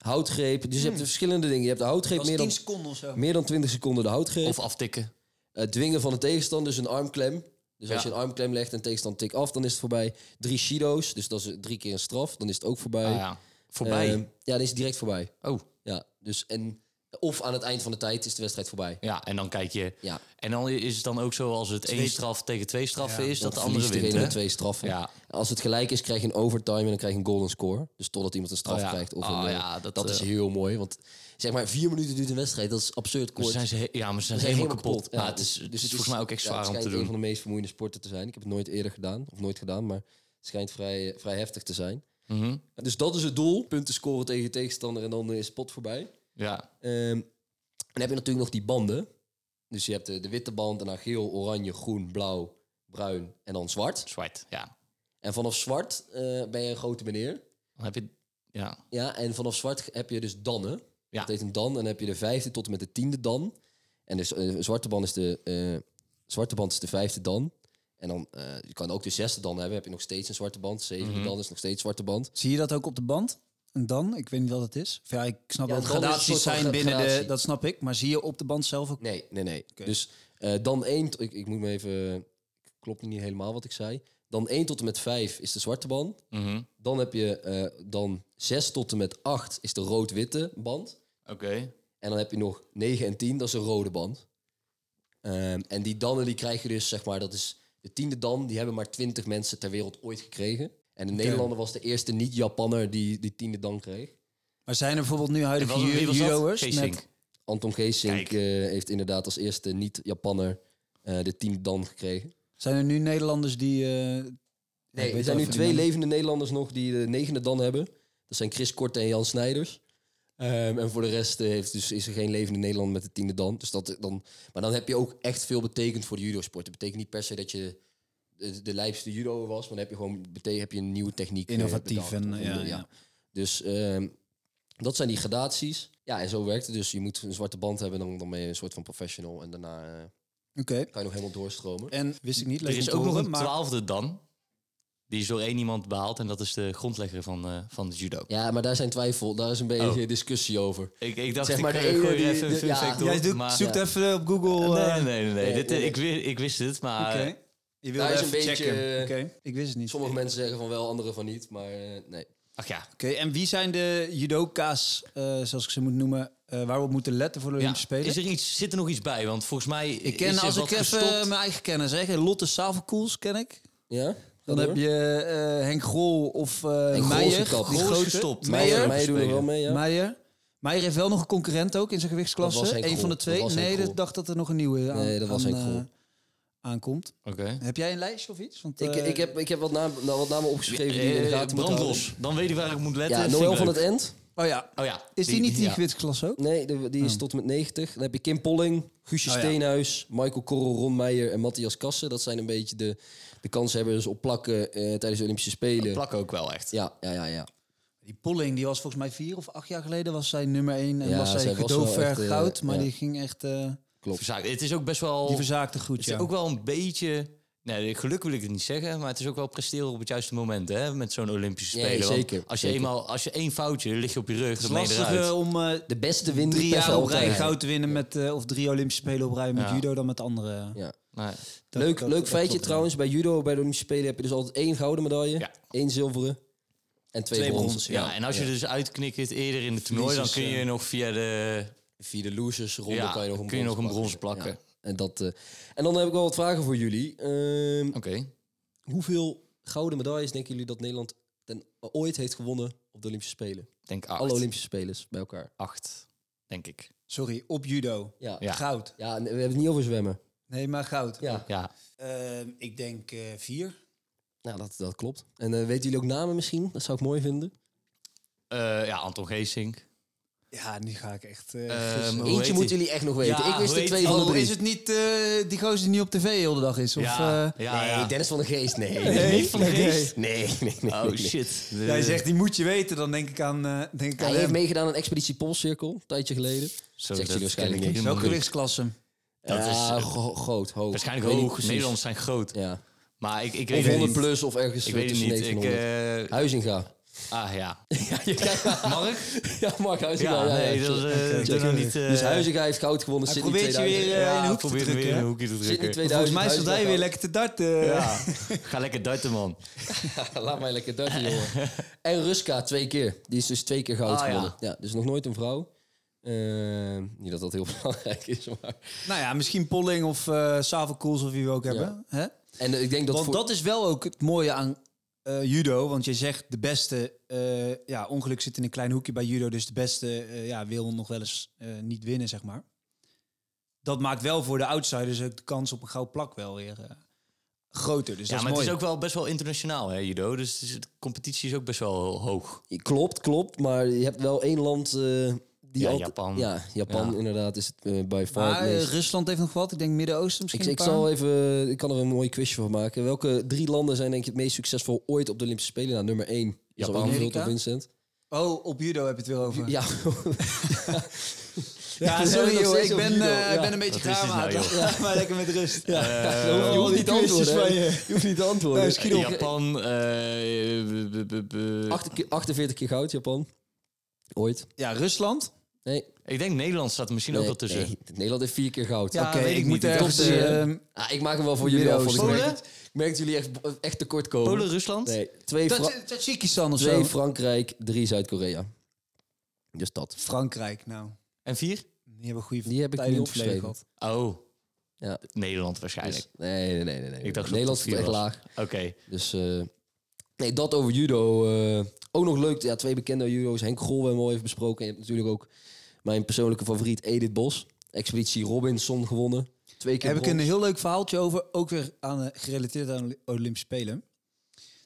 Speaker 3: Houtgreep. Dus
Speaker 2: Hmm.
Speaker 3: je hebt de verschillende dingen. Je hebt de houtgreep, meer dan,
Speaker 1: seconden of zo.
Speaker 3: meer dan 20 seconden de houtgreep.
Speaker 2: Of aftikken.
Speaker 3: Eh, dwingen van de tegenstander, dus een armklem. Dus als
Speaker 2: Ja.
Speaker 3: je een armklem legt en tegenstander tik af, dan is het voorbij. Drie shido's, dus dat is drie keer een straf. Dan is het ook voorbij.
Speaker 2: Ah, ja. Voorbij.
Speaker 3: Eh, ja, dan is het direct voorbij.
Speaker 2: oh,
Speaker 3: Ja, dus en, of aan het eind van de tijd is de wedstrijd voorbij.
Speaker 2: ja. En dan kijk je...
Speaker 3: Ja,
Speaker 2: En dan is het dan ook zo als het één straf tegen twee straffen is... dat de
Speaker 3: dan
Speaker 2: andere
Speaker 3: verliest
Speaker 2: wint,
Speaker 3: degene
Speaker 2: hè?
Speaker 3: met twee straffen.
Speaker 2: Ja.
Speaker 3: Als het gelijk is, krijg je een overtime en dan krijg je een golden score. Dus totdat iemand een straf
Speaker 2: Oh ja.
Speaker 3: krijgt. Of
Speaker 2: Oh
Speaker 3: een, eh,
Speaker 2: ja, dat,
Speaker 3: is
Speaker 2: eh,
Speaker 3: heel mooi. Want zeg maar, vier minuten duurt een wedstrijd. Dat is absurd
Speaker 2: Maar
Speaker 3: kort.
Speaker 2: Dus Zijn ze he- ja, maar ze zijn,
Speaker 3: We zijn
Speaker 2: helemaal kapot.
Speaker 3: Ja,
Speaker 2: Maar het is, het is volgens mij ook echt
Speaker 3: ja,
Speaker 2: zwaar
Speaker 3: het
Speaker 2: om te
Speaker 3: schijnt
Speaker 2: doen.
Speaker 3: een van de meest vermoeiende sporten te zijn. Ik heb het nooit eerder gedaan. Of nooit gedaan, maar het schijnt vrij, eh, vrij heftig te zijn.
Speaker 2: Mhm.
Speaker 3: Dus dat is het doel. Punten scoren tegen je tegenstander en dan eh, is het pot voorbij.
Speaker 2: Ja.
Speaker 3: Ehm, en dan heb je natuurlijk nog die banden. Dus je hebt de, de witte band en dan geel, oranje, groen, blauw, bruin en dan zwart.
Speaker 2: Zwart, ja.
Speaker 3: En vanaf zwart eh, ben je een grote meneer.
Speaker 2: Dan heb je... Ja.
Speaker 3: Ja, en vanaf zwart heb je dus dannen.
Speaker 2: Ja.
Speaker 3: Dat heet een dan. En dan heb je de vijfde tot en met de tiende dan. En dus eh, zwarte band is de eh, zwarte band is de vijfde dan. En dan eh, je kan ook de zesde dan hebben. Heb je nog steeds een zwarte band. Zevende dan is nog steeds zwarte band.
Speaker 1: Zie je dat ook op de band? En dan? Ik weet niet wat het is. Of Ja, ik snap
Speaker 3: Ja,
Speaker 1: wel dat
Speaker 3: dan is het een
Speaker 1: gradaties
Speaker 3: soort van
Speaker 1: zijn binnen de...
Speaker 3: gradatie.
Speaker 1: Dat snap ik. Maar zie je op de band zelf ook...
Speaker 3: Nee, nee, nee. Dus eh, dan 1, ik, ik moet me even, klopt niet helemaal wat ik zei. Dan 1 tot en met 5 is de zwarte band.
Speaker 2: Mhm.
Speaker 3: Dan heb je eh, dan 6 tot en met 8 is de rood-witte band.
Speaker 2: Oké.
Speaker 3: En dan heb je nog 9 en 10, dat is een rode band. Ehm, en die dannen die krijg je dus, zeg maar, dat is de tiende dan, die hebben maar 20 mensen ter wereld ooit gekregen. En de Nederlander was de eerste niet-Japanner die die tiende dan kreeg.
Speaker 1: Maar zijn er bijvoorbeeld nu
Speaker 2: En
Speaker 1: huidige
Speaker 2: wat- wie
Speaker 1: ju-
Speaker 2: was dat?
Speaker 1: judo'ers
Speaker 2: Geesink.
Speaker 1: met...
Speaker 3: Anton Geesink
Speaker 2: Kijk.
Speaker 3: eh, heeft inderdaad als eerste niet-Japanner eh, de tiende dan gekregen.
Speaker 1: Zijn er nu Nederlanders die... eh, ik
Speaker 3: Nee,
Speaker 1: weet
Speaker 3: er zijn nu
Speaker 1: even de
Speaker 3: twee
Speaker 1: naam.
Speaker 3: levende Nederlanders nog die de negende dan hebben. Dat zijn Chris Korte en Jan Snijders. Ehm, en voor de rest eh, heeft dus, is er geen levende Nederlander met de tiende dan. Dus dat, dan. Maar dan heb je ook echt veel betekend voor de judo-sport. Het betekent niet per se dat je de, de lijpste judo was, maar dan heb je gewoon bete- heb je een nieuwe techniek. eh,
Speaker 1: Innovatief
Speaker 3: bedacht.
Speaker 1: en...
Speaker 3: Of een-
Speaker 1: ja,
Speaker 3: ja.
Speaker 1: ja.
Speaker 3: Dus ehm, dat zijn die gradaties. Ja, en zo werkt het. Dus je moet een zwarte band hebben, dan, dan ben je een soort van professional. En daarna eh,
Speaker 1: Oké.
Speaker 3: kan je nog helemaal doorstromen.
Speaker 1: En wist ik niet. leuk
Speaker 2: Er is
Speaker 1: om te
Speaker 2: ook nog
Speaker 1: horen,
Speaker 2: een
Speaker 1: maar-
Speaker 2: twaalfde dan. Die is door één iemand behaald. En dat is de grondlegger van, eh, van het judo.
Speaker 3: Ja, maar daar zijn twijfel, daar is
Speaker 1: Oh.
Speaker 3: een beetje discussie over.
Speaker 2: Ik, ik dacht,
Speaker 3: Zeg
Speaker 2: ik
Speaker 3: maar de
Speaker 2: eh,
Speaker 3: ene
Speaker 2: gooi er
Speaker 3: die-
Speaker 2: even een
Speaker 3: de-
Speaker 2: fun
Speaker 3: ja.
Speaker 2: fact op.
Speaker 1: Jij doet,
Speaker 2: maar-
Speaker 1: zoekt even op Google...
Speaker 2: Nee,
Speaker 1: eh,
Speaker 2: nee, nee. nee, nee.
Speaker 3: nee,
Speaker 2: Dit,
Speaker 3: nee,
Speaker 2: Ik, wi- ik wist het, maar... eh,
Speaker 1: Oké. Je
Speaker 3: Daar
Speaker 1: wilde
Speaker 3: is
Speaker 1: even
Speaker 3: een beetje,
Speaker 1: checken. Oké,
Speaker 3: eh,
Speaker 1: ik wist het niet.
Speaker 3: Sommige mensen zeggen van wel, anderen van niet. Maar eh, nee.
Speaker 2: Oké, Ach ja,
Speaker 1: Oké, en wie zijn de judoka's, eh, zoals ik ze moet noemen, eh, waar we op moeten letten voor de
Speaker 2: ja.
Speaker 1: Olympische Spelen?
Speaker 2: Is er iets, zit er nog iets bij? Want volgens mij
Speaker 1: ik ken,
Speaker 2: is er
Speaker 1: als
Speaker 2: wat
Speaker 1: ik even
Speaker 2: gestopt.
Speaker 1: mijn eigen kennis zeg, Lotte Savelkoels ken ik.
Speaker 3: Ja?
Speaker 1: Dan heb je eh, Henk Grol of eh
Speaker 3: Grol is
Speaker 1: Meijer.
Speaker 3: gekapt.
Speaker 2: Die is
Speaker 1: Groot
Speaker 2: gestopt.
Speaker 1: Meijer.
Speaker 3: Meijer, Meijer doet er wel mee, ja.
Speaker 1: Meijer. Meijer heeft wel nog een concurrent ook in zijn
Speaker 3: Dat was
Speaker 1: gewichtsklasse.
Speaker 3: Henk
Speaker 1: Een
Speaker 3: Grol.
Speaker 1: van de
Speaker 3: Dat
Speaker 1: twee.
Speaker 3: was Henk
Speaker 1: nee, ik
Speaker 3: Grol.
Speaker 1: dacht dat er nog een nieuwe aan,
Speaker 3: Nee, dat was
Speaker 1: aan,
Speaker 3: Henk Grol.
Speaker 1: eh, aankomt.
Speaker 2: Oké.
Speaker 1: Heb jij een lijstje of iets? Want,
Speaker 3: ik,
Speaker 1: eh,
Speaker 3: ik, heb, ik heb wat, naam, nou, wat namen opgeschreven die je in de
Speaker 2: Eh,
Speaker 3: gaten moet houden.
Speaker 2: brandlos. Dan weet ik waar ik moet letten.
Speaker 3: Ja,
Speaker 2: Vind ik
Speaker 3: Noël van
Speaker 2: leuk.
Speaker 3: het End.
Speaker 1: Oh ja,
Speaker 2: Oh ja.
Speaker 1: is die, niet in die
Speaker 2: ja.
Speaker 1: gewichtsklasse ook?
Speaker 3: Nee, de- die is tot en met 90. Dan heb je Kim Polling, Guusje
Speaker 1: Oh ja.
Speaker 3: Steenhuis, Michael Korrel, Ron Meijer en Matthias Kassen. Dat zijn een beetje de, de kanshebbers op plakken eh, tijdens de Olympische Spelen.
Speaker 2: Plakken ook wel echt.
Speaker 3: Ja, ja, ja, ja.
Speaker 1: Die Polling, die was volgens mij vier of acht jaar geleden was zij nummer één. En
Speaker 3: Ja,
Speaker 1: was zij
Speaker 3: zij was wel
Speaker 1: gedoofver
Speaker 3: echt, eh,
Speaker 1: goud. maar
Speaker 3: ja.
Speaker 1: die ging echt... eh,
Speaker 3: Klopt.
Speaker 2: Verzaakt. Het is ook best wel...
Speaker 1: die verzaakte goed,
Speaker 2: Het
Speaker 1: ja.
Speaker 2: is Dus ook wel een beetje... Nee, geluk wil ik het niet zeggen, maar het is ook wel presteren op het juiste moment, hè? Met zo'n Olympische
Speaker 3: Nee,
Speaker 2: Spelen. Want
Speaker 3: zeker,
Speaker 2: Als je,
Speaker 3: zeker.
Speaker 2: eenmaal, als je één foutje, lig je op je rug,
Speaker 1: Het is
Speaker 2: dan ben je
Speaker 1: lastig
Speaker 2: eruit.
Speaker 1: eh, om eh,
Speaker 3: De beste winnen
Speaker 1: drie
Speaker 3: die
Speaker 1: jaar
Speaker 3: pesten
Speaker 1: op rij
Speaker 3: altijd.
Speaker 1: goud te winnen met... eh, of drie Olympische Spelen op rij met
Speaker 2: Ja.
Speaker 1: judo dan met de andere.
Speaker 3: Ja.
Speaker 2: Nee.
Speaker 1: Dat-
Speaker 3: leuk
Speaker 1: dat-
Speaker 3: leuk
Speaker 1: dat
Speaker 3: feitje
Speaker 1: klopt.
Speaker 3: trouwens. Bij judo, bij de Olympische Spelen, heb je dus altijd één gouden medaille,
Speaker 2: Ja.
Speaker 3: één zilveren en twee,
Speaker 1: Twee
Speaker 3: bronzen.
Speaker 1: bronzen,
Speaker 2: Ja, en als je dus uitknikkert eerder in het toernooi, dan
Speaker 1: Verliezers,
Speaker 2: kun je nog via de...
Speaker 3: Via de losers ronde
Speaker 2: Ja,
Speaker 3: eh, kan je nog een
Speaker 2: kun je nog een
Speaker 3: brons
Speaker 2: brons plakken.
Speaker 3: Ja. En, dat, eh, en dan heb ik wel wat vragen voor jullie. Ehm,
Speaker 2: Oké.
Speaker 3: Hoeveel gouden medailles denken jullie dat Nederland ten, ooit heeft gewonnen op de Olympische Spelen?
Speaker 2: Denk acht.
Speaker 3: Alle Olympische Spelers bij elkaar.
Speaker 2: Acht, denk ik.
Speaker 1: Sorry, op judo.
Speaker 3: Ja.
Speaker 2: Ja.
Speaker 1: Goud.
Speaker 3: Ja, en we hebben het niet over zwemmen.
Speaker 1: Nee, maar goud.
Speaker 3: Ja,
Speaker 2: Ja.
Speaker 1: Ehm, ik denk eh, vier.
Speaker 3: nou, dat, dat klopt. En eh, weten jullie ook namen misschien? Dat zou ik mooi vinden.
Speaker 2: Eh, ja, Anton Geesink.
Speaker 1: Ja, nu ga ik echt... eh,
Speaker 2: Ehm,
Speaker 1: gissen.
Speaker 2: hoe heet
Speaker 3: Eentje moeten
Speaker 2: die?
Speaker 3: jullie echt nog weten.
Speaker 2: Ja,
Speaker 3: ik wist
Speaker 2: hoe
Speaker 3: er
Speaker 2: heet
Speaker 3: twee
Speaker 2: die?
Speaker 3: van de
Speaker 1: Oh,
Speaker 3: drie.
Speaker 1: is het niet eh, die gozer die niet op tv de hele dag is? Of,
Speaker 2: ja,
Speaker 1: eh,
Speaker 2: ja,
Speaker 3: nee,
Speaker 2: Ah, ja.
Speaker 3: Dennis van de Geest, nee.
Speaker 2: Nee, niet van de Geest.
Speaker 3: Nee, nee, nee. nee,
Speaker 2: Oh
Speaker 3: nee.
Speaker 2: shit. De-
Speaker 1: Jij zegt, die moet je weten. Dan denk ik aan, eh denk ik
Speaker 3: Ja,
Speaker 1: aan
Speaker 3: hij heeft
Speaker 1: hem.
Speaker 3: meegedaan aan Expeditie Poolcirkel, een tijdje geleden.
Speaker 2: Zo,
Speaker 3: zegt
Speaker 2: dat
Speaker 3: hij waarschijnlijk
Speaker 2: ken ik helemaal
Speaker 3: niet.
Speaker 1: Welke
Speaker 2: niet.
Speaker 1: gewichtsklasse?
Speaker 2: Dat
Speaker 3: ja,
Speaker 2: is, eh,
Speaker 3: gro- groot, hoog.
Speaker 2: Waarschijnlijk
Speaker 3: Ik weet niet
Speaker 2: hoog.
Speaker 3: precies.
Speaker 2: Nederlanders zijn groot.
Speaker 3: Ja.
Speaker 2: Maar ik, ik
Speaker 3: Of
Speaker 2: weet het
Speaker 3: 100
Speaker 2: niet.
Speaker 3: plus of ergens
Speaker 2: Ik weet het
Speaker 3: tussen
Speaker 2: niet.
Speaker 3: 9 en
Speaker 2: Ik,
Speaker 3: 100.
Speaker 2: eh, (laughs)
Speaker 3: Huizinga.
Speaker 2: ah ja.
Speaker 3: ja,
Speaker 2: Mark?
Speaker 3: Mark
Speaker 2: Ja,
Speaker 3: Huizinga. ja, ja,
Speaker 2: nee, dat is
Speaker 3: sorry.
Speaker 2: eh,
Speaker 1: Oké,
Speaker 2: doe nou
Speaker 1: oké.
Speaker 2: niet. eh,
Speaker 3: Dus Huizinga heeft goud gewonnen.
Speaker 1: Hij
Speaker 3: Sydney
Speaker 1: probeert je
Speaker 3: 2000.
Speaker 1: weer eh,
Speaker 2: ja,
Speaker 1: in de hoek te
Speaker 2: probeer hem weer in
Speaker 1: drukken.
Speaker 2: een
Speaker 1: hè?
Speaker 2: hoekje te
Speaker 3: Sydney
Speaker 2: drukken.
Speaker 3: 2000.
Speaker 1: Volgens mij stond hij
Speaker 3: Huizinga
Speaker 1: weer
Speaker 3: goud.
Speaker 1: lekker te eh. darten.
Speaker 2: Ja. (laughs) Ga lekker duiten, man.
Speaker 3: (laughs) Laat mij lekker darten,
Speaker 2: (laughs)
Speaker 3: jongen. En Ruska twee keer. Die is dus twee keer goud
Speaker 2: Ah, ja.
Speaker 3: gewonnen. Ja. dus nog nooit een vrouw. Eh, niet dat dat heel (laughs) belangrijk is, maar...
Speaker 1: Nou ja, misschien Polling of eh Savelkoels of wie we ook hebben. Hè?
Speaker 3: En eh, ik denk dat...
Speaker 1: Want
Speaker 3: voor-
Speaker 1: dat is wel ook het mooie aan eh, judo. Want je zegt de beste, eh, ja, ongeluk zit in een klein hoekje bij judo. Dus de beste eh, ja, wil nog wel eens eh, niet winnen, zeg maar. Dat maakt wel voor de outsiders ook de kans op een gouden plak wel weer eh, groter. Dus
Speaker 2: Ja,
Speaker 1: dat
Speaker 2: maar
Speaker 1: is mooi.
Speaker 2: het is ook wel best wel internationaal, hè, judo. Dus het is- de competitie is ook best wel hoog.
Speaker 3: Klopt, klopt. Maar je hebt wel één land... eh, die
Speaker 2: Ja,
Speaker 3: altijd-
Speaker 2: Japan.
Speaker 3: Ja, Japan
Speaker 2: Ja.
Speaker 3: inderdaad is het eh, by far het
Speaker 1: maar eh,
Speaker 3: meest.
Speaker 1: Rusland heeft nog wat. Ik denk Midden-Oosten
Speaker 3: Ik,
Speaker 1: misschien
Speaker 3: ik,
Speaker 1: een paar.
Speaker 3: zal even, ik kan er een mooi quizje van maken. Welke drie landen zijn denk je het meest succesvol ooit op de Olympische Spelen? Nou, nummer één is al
Speaker 2: Japan.
Speaker 3: ingevuld door
Speaker 1: Amerika?
Speaker 3: Vincent.
Speaker 1: Oh, op judo heb je het weer over.
Speaker 3: Ja, (laughs)
Speaker 1: Ja,
Speaker 3: we hebben
Speaker 1: sorry
Speaker 3: nog
Speaker 1: joh,
Speaker 3: steeds
Speaker 1: ik
Speaker 3: over
Speaker 1: ben,
Speaker 3: judo,
Speaker 1: eh, ik
Speaker 3: ja.
Speaker 1: ben een beetje
Speaker 2: Wat is
Speaker 1: gaar,
Speaker 2: dit
Speaker 1: maat.
Speaker 2: nou, joh?
Speaker 1: (laughs) Laat mij lekker met rust.
Speaker 3: je hoeft- je hoeft
Speaker 1: die
Speaker 3: niet te antwoorden.
Speaker 1: quizjes
Speaker 3: hè?
Speaker 1: van je.
Speaker 3: Je hoeft niet te antwoorden.
Speaker 1: Nee, schiet op.
Speaker 2: Japan, eh, b- b- b- b-
Speaker 3: Acht keer- 48 keer goud, Japan. Ooit.
Speaker 1: Ja, Rusland.
Speaker 3: Nee.
Speaker 2: ik denk Nederland staat er misschien ook
Speaker 3: nee,
Speaker 2: wel tussen.
Speaker 3: nee. Nederland heeft vier keer goud.
Speaker 1: Ja,
Speaker 3: Oké.
Speaker 1: weet ik moet
Speaker 2: niet.
Speaker 1: ergens...
Speaker 3: Top drie, hè?
Speaker 1: eh,
Speaker 3: Ah, ik maak hem wel voor jullie af. want Ik
Speaker 1: Midden-Oosten.
Speaker 3: merk, dat- ik merk dat jullie echt, echt tekort komen.
Speaker 2: Polen, Rusland?
Speaker 3: Nee. Twee, Fra-
Speaker 1: Dat Tajikistan of
Speaker 3: twee
Speaker 1: zo.
Speaker 3: Frankrijk, drie Zuid-Korea. Dus dat.
Speaker 1: Frankrijk, nou.
Speaker 2: En vier?
Speaker 1: Die hebben goede
Speaker 3: Die heb ik
Speaker 1: tijden
Speaker 3: niet
Speaker 1: in het verleden
Speaker 3: opgeschreven.
Speaker 1: gehad.
Speaker 2: Oh,
Speaker 3: Ja.
Speaker 2: Nederland
Speaker 3: Dus-
Speaker 2: waarschijnlijk.
Speaker 3: nee, nee, nee, nee, nee.
Speaker 2: Ik dacht dat
Speaker 3: Nederland
Speaker 2: het
Speaker 3: staat echt
Speaker 2: vier was.
Speaker 3: laag.
Speaker 2: Oké.
Speaker 3: Dus eh, nee, dat over judo. eh, ook nog leuk, ja, twee bekende judo's. Henk Grol hebben we al even besproken. En je hebt natuurlijk ook mijn persoonlijke favoriet Edith Bos. Expeditie Robinson gewonnen. Twee keer
Speaker 1: Daar heb ik
Speaker 3: brons.
Speaker 1: een heel leuk verhaaltje over, ook weer aan, eh, gerelateerd aan Oli- Olympische Spelen.